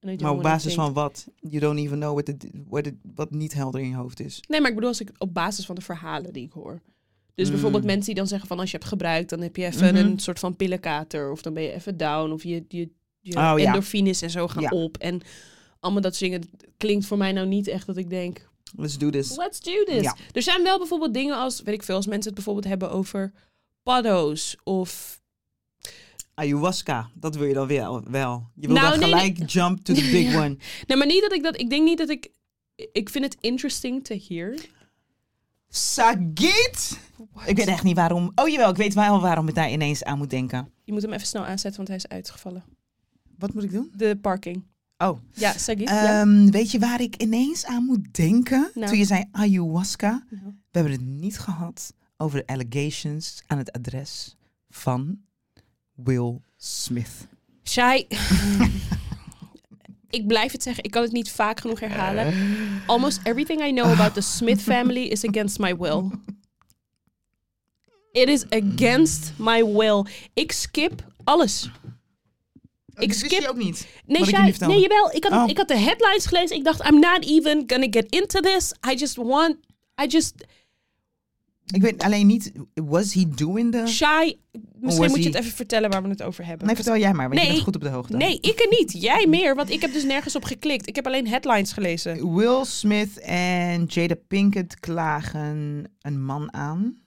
Speaker 1: dat je
Speaker 2: Maar op
Speaker 1: gewoon
Speaker 2: basis
Speaker 1: denkt-
Speaker 2: van wat? You don't even know what the, what the- wat niet helder in je hoofd is.
Speaker 1: Nee, maar ik bedoel als ik op basis van de verhalen die ik hoor. Dus
Speaker 2: Mm.
Speaker 1: bijvoorbeeld mensen die dan zeggen van als je hebt gebruikt... dan heb je even
Speaker 2: Mhm.
Speaker 1: een soort van pillenkater. Of dan ben je even down. Of je, je, je
Speaker 2: Oh, ja.
Speaker 1: endorfines en zo gaan
Speaker 2: Ja.
Speaker 1: op. En allemaal dat soort dingen. Dat klinkt voor mij nou niet echt dat ik denk...
Speaker 2: Let's do this.
Speaker 1: Let's do this.
Speaker 2: Ja.
Speaker 1: Er zijn wel bijvoorbeeld dingen als, weet ik veel, als mensen het bijvoorbeeld hebben over paddo's of...
Speaker 2: Ayahuasca, dat wil je dan wel. wel. Je wil
Speaker 1: Nou,
Speaker 2: dan
Speaker 1: nee,
Speaker 2: gelijk jump to the big
Speaker 1: Ja.
Speaker 2: one.
Speaker 1: Nee, maar niet dat ik dat... Ik denk niet dat ik... Ik vind het interesting to hear.
Speaker 2: Sagit! Ik weet echt niet waarom. Oh jawel, ik weet wel waarom ik daar ineens aan moet denken.
Speaker 1: Je moet hem even snel aanzetten, want hij is uitgevallen.
Speaker 2: Wat moet ik doen?
Speaker 1: De parking.
Speaker 2: Oh,
Speaker 1: Ja, Sagit. ja.
Speaker 2: ehm, weet je waar ik ineens aan moet denken?
Speaker 1: Nou.
Speaker 2: Toen je zei ayahuasca.
Speaker 1: Nou.
Speaker 2: We hebben het niet gehad over de allegations aan het adres van Will Smith.
Speaker 1: Shai. ik blijf het zeggen. Ik kan het niet vaak genoeg herhalen. Almost everything I know about the Smith family is against my will. It is against my will. Ik skip alles. Ik
Speaker 2: dat wist je
Speaker 1: skip-
Speaker 2: ook niet.
Speaker 1: Nee,
Speaker 2: Wat ik je
Speaker 1: jij,
Speaker 2: nu vertelde.
Speaker 1: nee jawel. Ik had,
Speaker 2: Oh.
Speaker 1: ik had de headlines gelezen. Ik dacht, I'm not even gonna get into this. I just want... I just...
Speaker 2: Ik weet alleen niet, was he doing the...
Speaker 1: Shy. Misschien
Speaker 2: Eh. was
Speaker 1: moet je
Speaker 2: hij-
Speaker 1: het even vertellen waar we het over hebben.
Speaker 2: Nee, vertel jij maar, want
Speaker 1: Nee.
Speaker 2: je bent goed op de hoogte.
Speaker 1: Nee, ik er niet. Jij meer, want ik heb dus nergens op geklikt. Ik heb alleen headlines gelezen.
Speaker 2: Will Smith en Jada Pinkett klagen een man aan.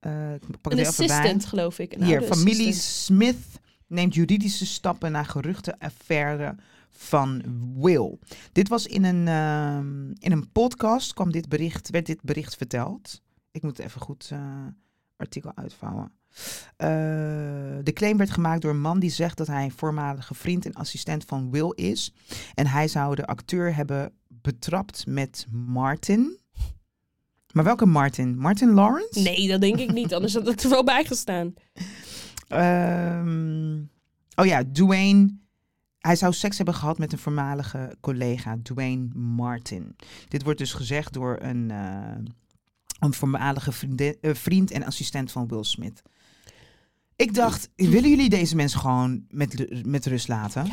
Speaker 2: Eh, ik pak
Speaker 1: Een
Speaker 2: het er even bij.
Speaker 1: assistant, geloof ik. Nou, Een
Speaker 2: Hier,
Speaker 1: oude
Speaker 2: familie
Speaker 1: assistant.
Speaker 2: Smith neemt juridische stappen naar geruchtenaffaire van Will. Dit was in een, ehm, in een podcast, kwam dit bericht, werd dit bericht verteld. Ik moet even goed eh, artikel uitvouwen. Eh, de claim werd gemaakt door een man die zegt dat hij een voormalige vriend en assistent van Will is. En hij zou de acteur hebben betrapt met Martin. Maar welke Martin? Martin Lawrence?
Speaker 1: Nee, dat denk ik niet. Anders had het er wel bij gestaan.
Speaker 2: Ehm, oh ja, Dwayne. Hij zou seks hebben gehad met een voormalige collega, Dwayne Martin. Dit wordt dus gezegd door een, eh, een voormalige vriendin- eh, vriend en assistent van Will Smith. Ik dacht, willen jullie deze mensen gewoon met, lu- met rust laten?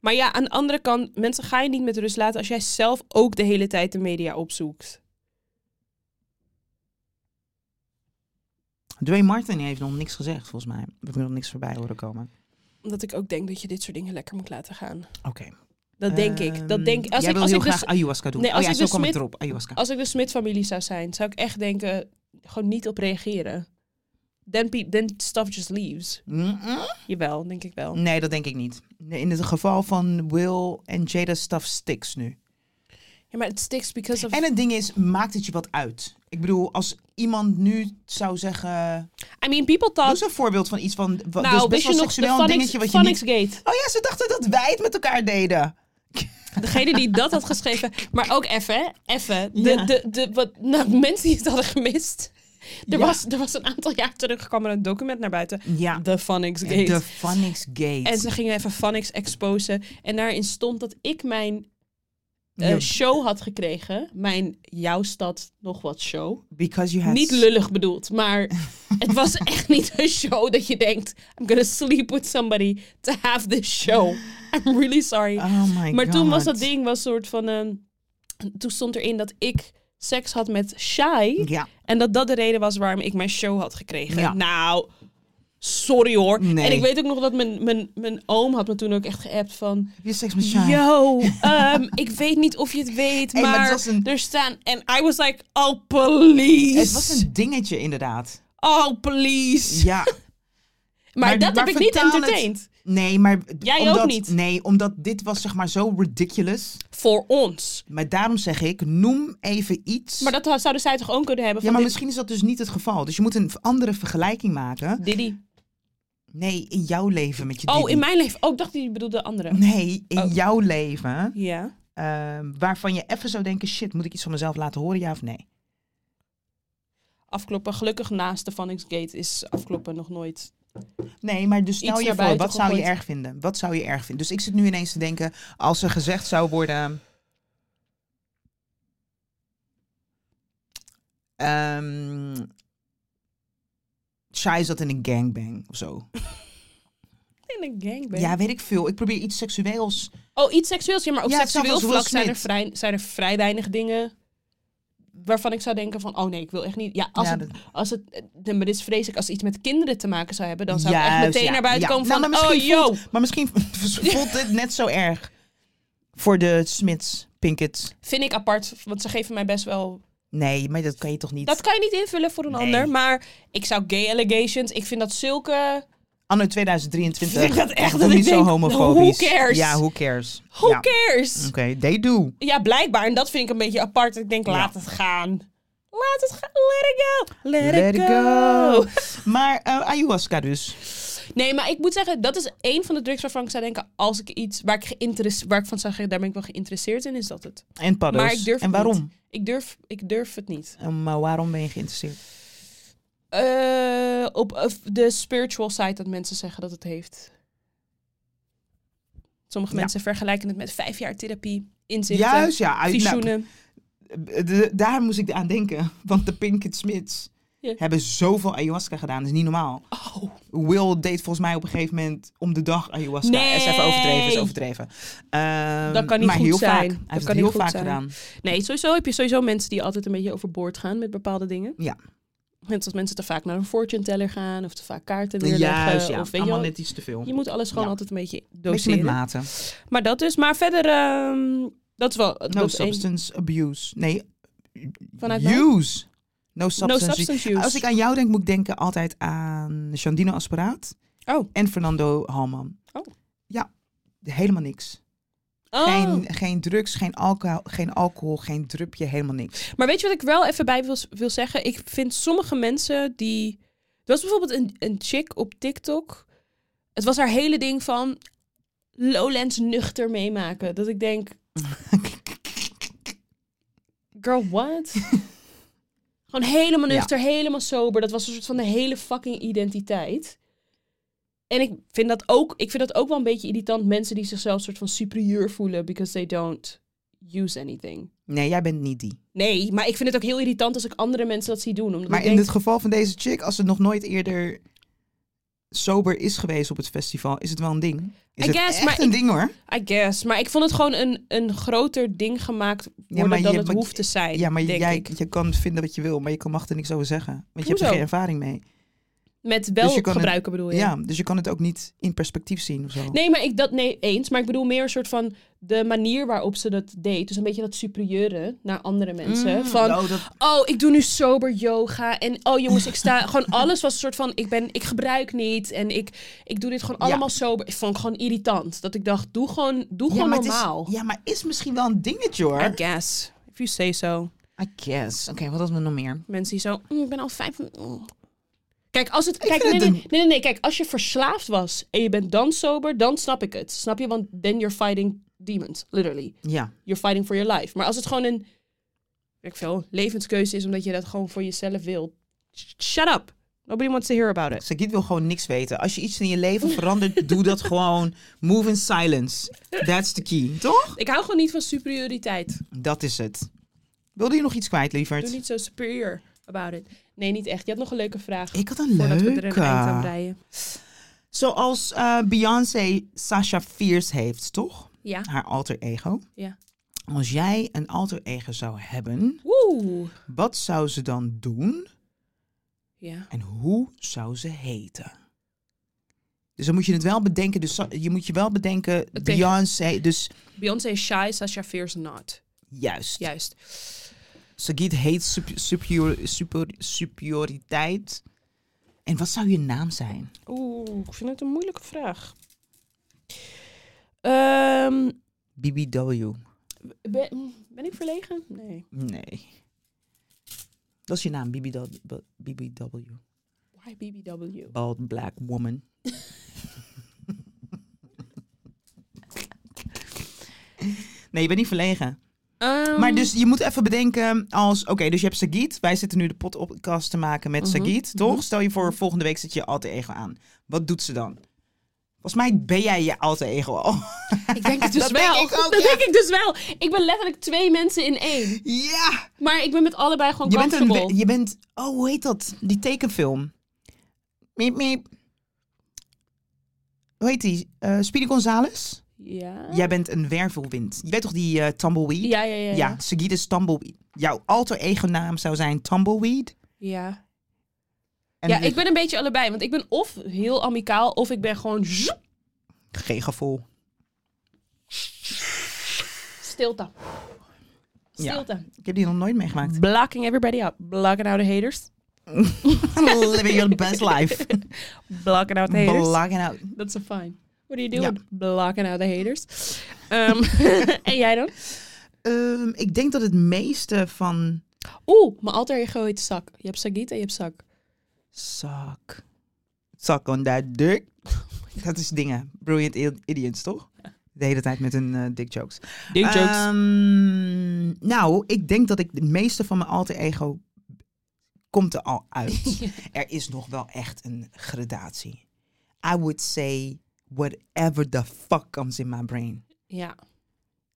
Speaker 1: Maar ja, aan de andere kant, mensen ga je niet met rust laten als jij zelf ook de hele tijd de media opzoekt.
Speaker 2: Dwayne Martin heeft nog niks gezegd, volgens mij. We hebben nog niks voorbij horen komen.
Speaker 1: Omdat ik ook denk dat je dit soort dingen lekker moet laten gaan.
Speaker 2: Oké.
Speaker 1: Dat denk ik. Dat denk ik. Als
Speaker 2: Ehm, jij
Speaker 1: ik,
Speaker 2: wil
Speaker 1: als
Speaker 2: heel
Speaker 1: ik,
Speaker 2: graag
Speaker 1: dus,
Speaker 2: ayahuasca doen.
Speaker 1: Nee,
Speaker 2: oh
Speaker 1: als
Speaker 2: ja,
Speaker 1: ik
Speaker 2: zo
Speaker 1: dus
Speaker 2: kwam het
Speaker 1: met-
Speaker 2: erop, ayahuasca.
Speaker 1: als ik de Smit-familie zou zijn, zou ik echt denken, gewoon niet op reageren. Then, pe- then stuff just leaves.
Speaker 2: Mm-mm.
Speaker 1: Jawel, denk ik wel.
Speaker 2: Nee, dat denk ik niet. Nee, In het geval van Will en Jada stuff sticks nu.
Speaker 1: Ja, maar het sticks because of...
Speaker 2: En het ding is, maakt het je wat uit? Ik bedoel, als iemand nu zou zeggen...
Speaker 1: I mean, people
Speaker 2: Doe
Speaker 1: thought...
Speaker 2: eens een voorbeeld van iets van... wa-
Speaker 1: nou,
Speaker 2: dus best
Speaker 1: wist
Speaker 2: wel
Speaker 1: je nog de
Speaker 2: seksueel een
Speaker 1: Phonics,
Speaker 2: dingetje wat je niet...
Speaker 1: Gate?
Speaker 2: Oh ja, ze dachten dat wij het met elkaar deden.
Speaker 1: Degene die dat had geschreven. Maar ook even, hè, even. De,
Speaker 2: Ja.
Speaker 1: de, de, wat, nou, mensen die het hadden gemist. Er,
Speaker 2: Ja.
Speaker 1: was, er was een aantal jaar terug kwam er een document naar buiten.
Speaker 2: Ja,
Speaker 1: The Phonics Gate.
Speaker 2: de Phonics Gate.
Speaker 1: En ze gingen even Phonics exposen. En daarin stond dat ik mijn eh,
Speaker 2: Ja.
Speaker 1: show had gekregen, mijn Jouw Stad nog wat show.
Speaker 2: Because you had...
Speaker 1: Niet lullig bedoeld, maar het was echt niet een show dat je denkt... I'm gonna sleep with somebody to have this show. I'm really sorry.
Speaker 2: Oh my
Speaker 1: maar
Speaker 2: god.
Speaker 1: toen was dat ding was soort van... ehm, toen stond erin dat ik seks had met Shai.
Speaker 2: Ja.
Speaker 1: En dat dat de reden was waarom ik mijn show had gekregen.
Speaker 2: Ja.
Speaker 1: Nou, sorry hoor.
Speaker 2: Nee.
Speaker 1: En ik weet ook nog dat mijn, mijn, mijn oom had me toen ook echt geappt van...
Speaker 2: Heb je seks met Shine?
Speaker 1: Yo, ehm, ik weet niet of je het weet,
Speaker 2: Hey, maar
Speaker 1: maar,
Speaker 2: het was een-
Speaker 1: er staan... En I was like, oh please.
Speaker 2: Het was een dingetje inderdaad.
Speaker 1: Oh please.
Speaker 2: Ja.
Speaker 1: maar,
Speaker 2: maar-
Speaker 1: dat
Speaker 2: maar
Speaker 1: heb ik niet
Speaker 2: vertaal het-
Speaker 1: entertained.
Speaker 2: Nee, maar...
Speaker 1: Jij ook
Speaker 2: omdat,
Speaker 1: niet.
Speaker 2: Nee, omdat dit was zeg maar zo ridiculous.
Speaker 1: Voor ons.
Speaker 2: Maar daarom zeg ik, noem even iets.
Speaker 1: Maar dat zouden zij toch ook kunnen hebben? Van
Speaker 2: ja, maar
Speaker 1: dit-
Speaker 2: misschien is dat dus niet het geval. Dus je moet een andere vergelijking maken.
Speaker 1: Diddy.
Speaker 2: Nee, in jouw leven met je
Speaker 1: Oh,
Speaker 2: diddy.
Speaker 1: in mijn leven. Oh, ik dacht die bedoelde andere.
Speaker 2: Nee, in
Speaker 1: Oh.
Speaker 2: jouw leven.
Speaker 1: Ja.
Speaker 2: ehm, waarvan je even zou denken, shit, moet ik iets van mezelf laten horen, ja of nee?
Speaker 1: Afkloppen. Gelukkig naast de Vanningsgate is afkloppen nog nooit.
Speaker 2: Nee, maar dus stel
Speaker 1: Iets
Speaker 2: je
Speaker 1: naar
Speaker 2: voor,
Speaker 1: buiten
Speaker 2: wat zou je
Speaker 1: gegooid.
Speaker 2: erg vinden? Wat zou je erg vinden? Dus ik zit nu ineens te denken, als er gezegd zou worden... ehm Shai zat in een gangbang of zo.
Speaker 1: In een gangbang.
Speaker 2: Ja, weet ik veel. Ik probeer iets seksueels.
Speaker 1: Oh, iets seksueels. Ja, maar op
Speaker 2: Ja, hetzelfde
Speaker 1: seksueel
Speaker 2: als Will
Speaker 1: vlak zijn er,
Speaker 2: Smith.
Speaker 1: vrij, zijn er vrij weinig dingen waarvan ik zou denken van... Oh nee, ik wil echt niet... Ja, als
Speaker 2: Ja,
Speaker 1: het...
Speaker 2: dat-
Speaker 1: Als het eh, maar dit is vreselijk. Als het iets met kinderen te maken zou hebben... dan zou ik echt
Speaker 2: Juist,
Speaker 1: meteen
Speaker 2: ja,
Speaker 1: naar buiten
Speaker 2: ja.
Speaker 1: komen
Speaker 2: Nou,
Speaker 1: van...
Speaker 2: maar
Speaker 1: oh,
Speaker 2: misschien
Speaker 1: yo.
Speaker 2: Maar misschien voelt dit net zo erg voor de Smits, Pinkett.
Speaker 1: Vind ik apart. Want ze geven mij best wel...
Speaker 2: Nee, maar dat kan je toch niet.
Speaker 1: Dat kan je niet invullen voor een
Speaker 2: Nee.
Speaker 1: ander. Maar ik zou gay allegations... Ik vind dat zulke...
Speaker 2: Anno
Speaker 1: Ik
Speaker 2: 2023.
Speaker 1: vind dat echt
Speaker 2: Doe
Speaker 1: dat ik
Speaker 2: niet zo
Speaker 1: denk,
Speaker 2: homofobisch.
Speaker 1: who cares?
Speaker 2: Ja, who cares?
Speaker 1: Who
Speaker 2: Ja. Mm.
Speaker 1: cares?
Speaker 2: Oké, they do.
Speaker 1: Ja, blijkbaar. En dat vind ik een beetje apart. Ik denk,
Speaker 2: Ja.
Speaker 1: laat het gaan. Laat het gaan. Let it go. Let,
Speaker 2: Let
Speaker 1: it
Speaker 2: it
Speaker 1: go.
Speaker 2: Maar eh, ayahuasca dus.
Speaker 1: Nee, maar ik moet zeggen, dat is één van de drugs waarvan ik zou denken... als ik iets waar ik, geïnteresse- waar ik van zou zeggen, daar ben ik wel geïnteresseerd in, is dat het.
Speaker 2: En paddo's.
Speaker 1: Maar ik durf
Speaker 2: en
Speaker 1: het
Speaker 2: waarom?
Speaker 1: niet. Ik durf, ik durf het niet.
Speaker 2: Eh, maar waarom ben je geïnteresseerd?
Speaker 1: Eh, op eh, de spiritual side dat mensen zeggen dat het heeft. Sommige
Speaker 2: Ja.
Speaker 1: mensen vergelijken het met vijf jaar therapie, inzichten,
Speaker 2: Juist, ja. uit- nou,
Speaker 1: visioenen.
Speaker 2: eh, de- daar moest ik aan denken. Want de Pinkett Smits
Speaker 1: Ja.
Speaker 2: hebben zoveel ayahuasca gedaan. Dat is niet normaal.
Speaker 1: Oh,
Speaker 2: Will deed volgens mij op een gegeven moment om de dag ayahuasca.
Speaker 1: Nee.
Speaker 2: Is even overdreven, is overdreven. Ehm,
Speaker 1: Dat kan niet
Speaker 2: maar
Speaker 1: goed
Speaker 2: heel
Speaker 1: zijn.
Speaker 2: Vaak. Hij
Speaker 1: Dat
Speaker 2: heeft
Speaker 1: kan
Speaker 2: het
Speaker 1: niet
Speaker 2: heel
Speaker 1: goed
Speaker 2: vaak
Speaker 1: zijn.
Speaker 2: gedaan.
Speaker 1: Nee, sowieso heb je sowieso mensen die altijd een beetje overboord gaan met bepaalde dingen.
Speaker 2: Ja.
Speaker 1: Net als mensen te vaak naar een fortune teller gaan of te vaak kaarten neerleggen.
Speaker 2: Juist,
Speaker 1: of
Speaker 2: ja.
Speaker 1: weet je,
Speaker 2: Allemaal
Speaker 1: wel,
Speaker 2: net iets te veel.
Speaker 1: je moet alles gewoon
Speaker 2: Ja.
Speaker 1: altijd een beetje
Speaker 2: Beetje met
Speaker 1: doseren.
Speaker 2: mate.
Speaker 1: maar dat dus. Maar verder, ehm, dat is wel... dat
Speaker 2: No
Speaker 1: is één-
Speaker 2: substance abuse. Nee,
Speaker 1: Vanuit mij?
Speaker 2: use. No
Speaker 1: no
Speaker 2: substance, use.
Speaker 1: substance use.
Speaker 2: Als ik aan jou denk, moet ik denken altijd aan Shandino Asperaat
Speaker 1: Oh.
Speaker 2: en Fernando Halman.
Speaker 1: Oh.
Speaker 2: Ja, helemaal niks.
Speaker 1: Oh.
Speaker 2: Geen, geen drugs, geen alcohol, geen alcohol, geen drupje, helemaal niks.
Speaker 1: Maar weet je wat ik wel even bij wil, wil zeggen? Ik vind sommige mensen die... Er was bijvoorbeeld een, een chick op TikTok. Het was haar hele ding van Lowlands nuchter meemaken. Dat ik denk, Girl, what? Gewoon helemaal
Speaker 2: Ja.
Speaker 1: nuchter, helemaal sober. Dat was een soort van de hele fucking identiteit. En ik vind dat ook, ik vind dat ook wel een beetje irritant. Mensen die zichzelf soort van superieur voelen because they don't use anything.
Speaker 2: nee, jij bent niet die.
Speaker 1: Nee, maar ik vind het ook heel irritant als ik andere mensen dat zie doen. Omdat
Speaker 2: Maar
Speaker 1: ik
Speaker 2: in
Speaker 1: denk,
Speaker 2: het geval van deze chick, als ze nog nooit eerder sober is geweest op het festival, is het wel een ding. Is
Speaker 1: I
Speaker 2: het
Speaker 1: guess,
Speaker 2: echt
Speaker 1: maar
Speaker 2: een
Speaker 1: ik-
Speaker 2: ding hoor.
Speaker 1: I guess. Maar ik vond het gewoon een, een groter ding gemaakt worden
Speaker 2: maar
Speaker 1: dan
Speaker 2: je-
Speaker 1: het
Speaker 2: maar-
Speaker 1: hoeft te zijn.
Speaker 2: Ja, maar
Speaker 1: denk
Speaker 2: jij,
Speaker 1: ik.
Speaker 2: je kan vinden wat je wil, maar je kan mag er niks over zeggen. Want je hebt er
Speaker 1: Hoezo?
Speaker 2: geen ervaring mee.
Speaker 1: Met wel
Speaker 2: dus je kan het-
Speaker 1: gebruiken bedoel je?
Speaker 2: Ja, dus je kan het ook niet in perspectief zien of zo.
Speaker 1: Nee, maar ik dat nee eens. Maar ik bedoel meer een soort van de manier waarop ze dat deed. Dus een beetje dat superieure naar andere mensen.
Speaker 2: Mm,
Speaker 1: van
Speaker 2: nou, dat-
Speaker 1: oh, ik doe nu sober yoga. En oh jongens, ik sta. gewoon alles was een soort van ik ben, ik gebruik niet. En ik, ik doe dit gewoon
Speaker 2: Ja.
Speaker 1: allemaal sober. Ik vond het gewoon irritant. Dat ik dacht, doe gewoon, doe
Speaker 2: ja,
Speaker 1: gewoon
Speaker 2: maar het is-
Speaker 1: normaal.
Speaker 2: ja, maar is misschien wel een dingetje hoor.
Speaker 1: I guess. If you say so.
Speaker 2: I guess. Oké, wat hadden we nog meer?
Speaker 1: Mensen die zo, "Mm, ik ben al vijf. mm." Kijk, als het. Kijk,
Speaker 2: vind
Speaker 1: nee,
Speaker 2: het
Speaker 1: nee,
Speaker 2: een-
Speaker 1: nee, nee, nee, Kijk, als je verslaafd was en je bent dan sober, dan snap ik het. Snap je? Want then you're fighting demons, literally.
Speaker 2: Ja.
Speaker 1: you're fighting for your life. Maar als het gewoon een weet ik veel, levenskeuze is, omdat je dat gewoon voor jezelf wil. sh- Shut up. Nobody wants to hear about it.
Speaker 2: Sakit wil gewoon niks weten. Als je iets in je leven verandert, doe dat gewoon. Move in silence. That's the key, toch?
Speaker 1: Ik hou gewoon niet van superioriteit.
Speaker 2: Dat is het. Wilde je nog iets kwijt,
Speaker 1: Doe
Speaker 2: lieverd?
Speaker 1: niet zo superior about it. Nee, niet echt. Je had nog een leuke vraag.
Speaker 2: Ik had een
Speaker 1: Voordat we er een eind aan
Speaker 2: leuke.
Speaker 1: breien.
Speaker 2: Zoals eh, Beyoncé Sasha Fierce heeft, toch?
Speaker 1: Ja.
Speaker 2: Haar alter ego.
Speaker 1: Ja.
Speaker 2: Als jij een alter ego zou hebben,
Speaker 1: Woe.
Speaker 2: wat zou ze dan doen
Speaker 1: Ja.
Speaker 2: en hoe zou ze heten? Dus dan moet je het wel bedenken. Dus Sa- je moet je wel bedenken, Beyoncé. Dus
Speaker 1: Beyoncé is shy, Sasha fears not.
Speaker 2: juist.
Speaker 1: Juist.
Speaker 2: Sagit heet sup- superior- super- superioriteit. En wat zou je naam zijn?
Speaker 1: Oeh, ik vind het een moeilijke vraag. Ehm,
Speaker 2: BBW.
Speaker 1: ben, ben ik verlegen? Nee.
Speaker 2: Nee. Dat is je naam, BBW. BBW.
Speaker 1: Why BBW?
Speaker 2: Bald Black Woman. nee, je bent niet verlegen.
Speaker 1: Ehm,
Speaker 2: Maar dus je moet even bedenken als... Oké, dus je hebt Sagit. Wij zitten nu de podcast te maken met
Speaker 1: Mhm,
Speaker 2: Sagit, toch?
Speaker 1: mhm.
Speaker 2: Stel je voor, volgende week zet je je alter ego aan. Wat doet ze dan? Volgens mij ben jij je alter ego al.
Speaker 1: ik denk het dus
Speaker 2: Dat
Speaker 1: wel.
Speaker 2: denk ik ook,
Speaker 1: dat
Speaker 2: ja.
Speaker 1: denk ik dus wel. Ik ben letterlijk twee mensen in één.
Speaker 2: Ja!
Speaker 1: Maar ik ben met allebei gewoon
Speaker 2: Je bent, een,
Speaker 1: comfortable.
Speaker 2: we- je bent... Oh, hoe heet dat? Die tekenfilm. Miep, miep. Hoe heet die? Eh Speedy Gonzales?
Speaker 1: Ja.
Speaker 2: Jij bent een wervelwind. Je weet toch die eh, Tumbleweed?
Speaker 1: Ja, ja, ja.
Speaker 2: Ja,
Speaker 1: Ja.
Speaker 2: Sagit is Tumbleweed. Jouw alter ego naam zou zijn Tumbleweed.
Speaker 1: ja.
Speaker 2: En
Speaker 1: ja, ik ben een beetje allebei. Want ik ben of heel amicaal, of ik ben gewoon zoep,
Speaker 2: Gegenvol.
Speaker 1: stilte.
Speaker 2: Ja.
Speaker 1: Stilte.
Speaker 2: Ik heb die nog nooit meegemaakt.
Speaker 1: Blocking everybody out. Blocking out the haters.
Speaker 2: Living your best life.
Speaker 1: Blocking out the haters.
Speaker 2: Blacking out.
Speaker 1: Dat is fine. What are you
Speaker 2: Ja.
Speaker 1: doing? Blocking out the haters. Ehm, en jij dan?
Speaker 2: Ehm, ik denk dat het meeste van...
Speaker 1: Oeh, mijn alter ego heet Zak. Je hebt Sagit en je hebt Zak.
Speaker 2: Zak. Zak on that dick. Dat is dingen. Brilliant i- idiots, toch? De hele tijd met hun eh, dick jokes.
Speaker 1: Dick jokes.
Speaker 2: Ehm, nou, ik denk dat ik de meeste van mijn alter ego... Komt er al uit. er is nog wel echt een gradatie. I would say whatever the fuck comes in my brain.
Speaker 1: ja.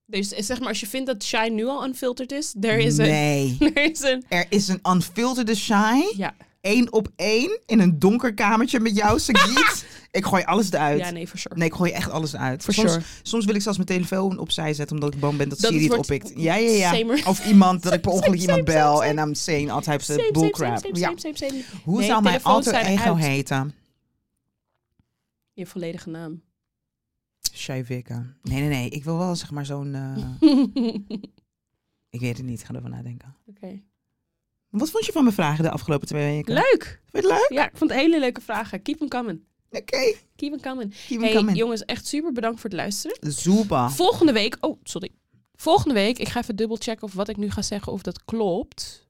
Speaker 1: Dus eh, zeg maar, als je vindt dat Shine nu al unfiltered is, there is een...
Speaker 2: nee.
Speaker 1: Er is een...
Speaker 2: Er is een unfilterde shy.
Speaker 1: Ja.
Speaker 2: Eén op één in een donker kamertje met jou, Sagiet. ik gooi alles eruit.
Speaker 1: ja, nee, for sure.
Speaker 2: Nee, ik gooi echt alles uit.
Speaker 1: For
Speaker 2: soms,
Speaker 1: sure.
Speaker 2: soms wil ik zelfs mijn telefoon opzij zetten omdat ik bang ben dat,
Speaker 1: Dat
Speaker 2: Siri
Speaker 1: het
Speaker 2: het
Speaker 1: wordt-
Speaker 2: oppikt. Ja, ja, ja.
Speaker 1: Same-
Speaker 2: Of iemand dat ik per
Speaker 1: Same,
Speaker 2: ongeluk
Speaker 1: same,
Speaker 2: iemand
Speaker 1: same,
Speaker 2: bel
Speaker 1: same.
Speaker 2: en I'm saying all types of
Speaker 1: Same, same, same,
Speaker 2: bullcrap.
Speaker 1: same,
Speaker 2: Ja.
Speaker 1: same, same, same.
Speaker 2: Hoe
Speaker 1: Nee,
Speaker 2: zou mijn
Speaker 1: telefoons
Speaker 2: alter
Speaker 1: zijn
Speaker 2: ego
Speaker 1: uit.
Speaker 2: heten?
Speaker 1: Je volledige naam.
Speaker 2: Shaivika. Nee, nee, nee. Ik wil wel zeg maar zo'n... eh,
Speaker 1: Oké.
Speaker 2: ik weet het niet. Ik ga ervan nadenken. Wat vond je van mijn vragen de afgelopen twee weken?
Speaker 1: Leuk.
Speaker 2: Vond je het leuk?
Speaker 1: Ja, ik vond het hele leuke vragen. Keep them coming.
Speaker 2: Oké.
Speaker 1: Keep them coming. hey,
Speaker 2: Keep hey, coming. Ah.
Speaker 1: jongens, echt super bedankt voor het luisteren.
Speaker 2: Zuba.
Speaker 1: Volgende week. Oh, sorry. Volgende week. Ik ga even dubbelchecken of wat ik nu ga zeggen of dat klopt.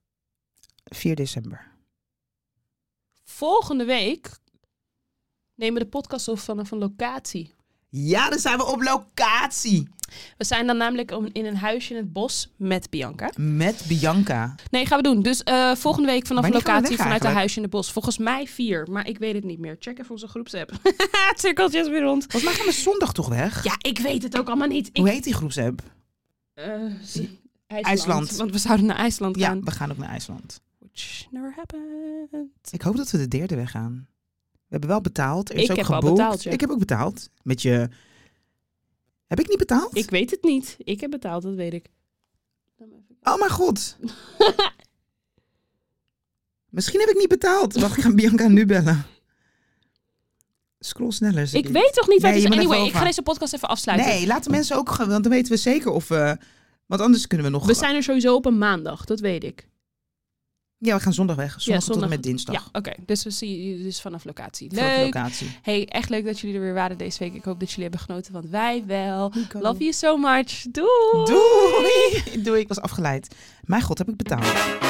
Speaker 2: 4 december.
Speaker 1: Volgende week nemen we de podcast op vanaf een locatie.
Speaker 2: Ja, dan zijn we op locatie
Speaker 1: We zijn dan namelijk om- in een huisje in het bos met Bianca.
Speaker 2: met Bianca.
Speaker 1: Nee, gaan we doen. Dus eh, volgende week vanaf een
Speaker 2: Wanneer gaan we
Speaker 1: locatie
Speaker 2: weg
Speaker 1: vanuit een
Speaker 2: eigenlijk?
Speaker 1: huisje in het bos. Volgens mij vier, maar ik weet het niet meer. Check even onze groepsapp. Cirkeltjes weer rond.
Speaker 2: Volgens mij gaan we zondag toch weg?
Speaker 1: Ja, ik weet het ook allemaal niet. Ik,
Speaker 2: Hoe heet die groepsapp?
Speaker 1: Eh, z- IJsland,
Speaker 2: IJsland.
Speaker 1: Want we zouden naar IJsland
Speaker 2: Ja,
Speaker 1: gaan.
Speaker 2: we gaan ook naar IJsland.
Speaker 1: Which never happened.
Speaker 2: Ik hoop dat we de derde weg gaan. We hebben wel betaald. Er is
Speaker 1: Ik
Speaker 2: ook
Speaker 1: heb al
Speaker 2: geboekt.
Speaker 1: betaald, ja.
Speaker 2: Ik heb ook betaald. Met je... Heb ik niet betaald?
Speaker 1: Ik weet het niet. Ik heb betaald, dat weet ik.
Speaker 2: Oh mijn god. Misschien heb ik niet betaald. Wacht, ik ga Bianca nu bellen. Scroll sneller. zeg
Speaker 1: Ik weet toch niet waar
Speaker 2: Nee,
Speaker 1: het
Speaker 2: je
Speaker 1: is.
Speaker 2: moet
Speaker 1: Anyway,
Speaker 2: even
Speaker 1: ik ga
Speaker 2: over.
Speaker 1: deze podcast even afsluiten.
Speaker 2: Nee, laat de mensen ook... ge- Want dan weten we zeker of we... Want anders kunnen we nog...
Speaker 1: We zijn er sowieso op een maandag, dat weet ik.
Speaker 2: Ja, we gaan zondag weg. Zondag, tot
Speaker 1: zondag.
Speaker 2: en met dinsdag.
Speaker 1: Ja, oké. Dus we zien jullie dus vanaf locatie.
Speaker 2: Vanaf de
Speaker 1: Leuk.
Speaker 2: locatie.
Speaker 1: Hey, echt leuk dat jullie er weer waren deze week. Ik hoop dat jullie hebben genoten, want wij wel.
Speaker 2: Nico.
Speaker 1: Love you so much. Doei.
Speaker 2: Doei. Doei, ik was afgeleid. Mijn god, heb ik betaald.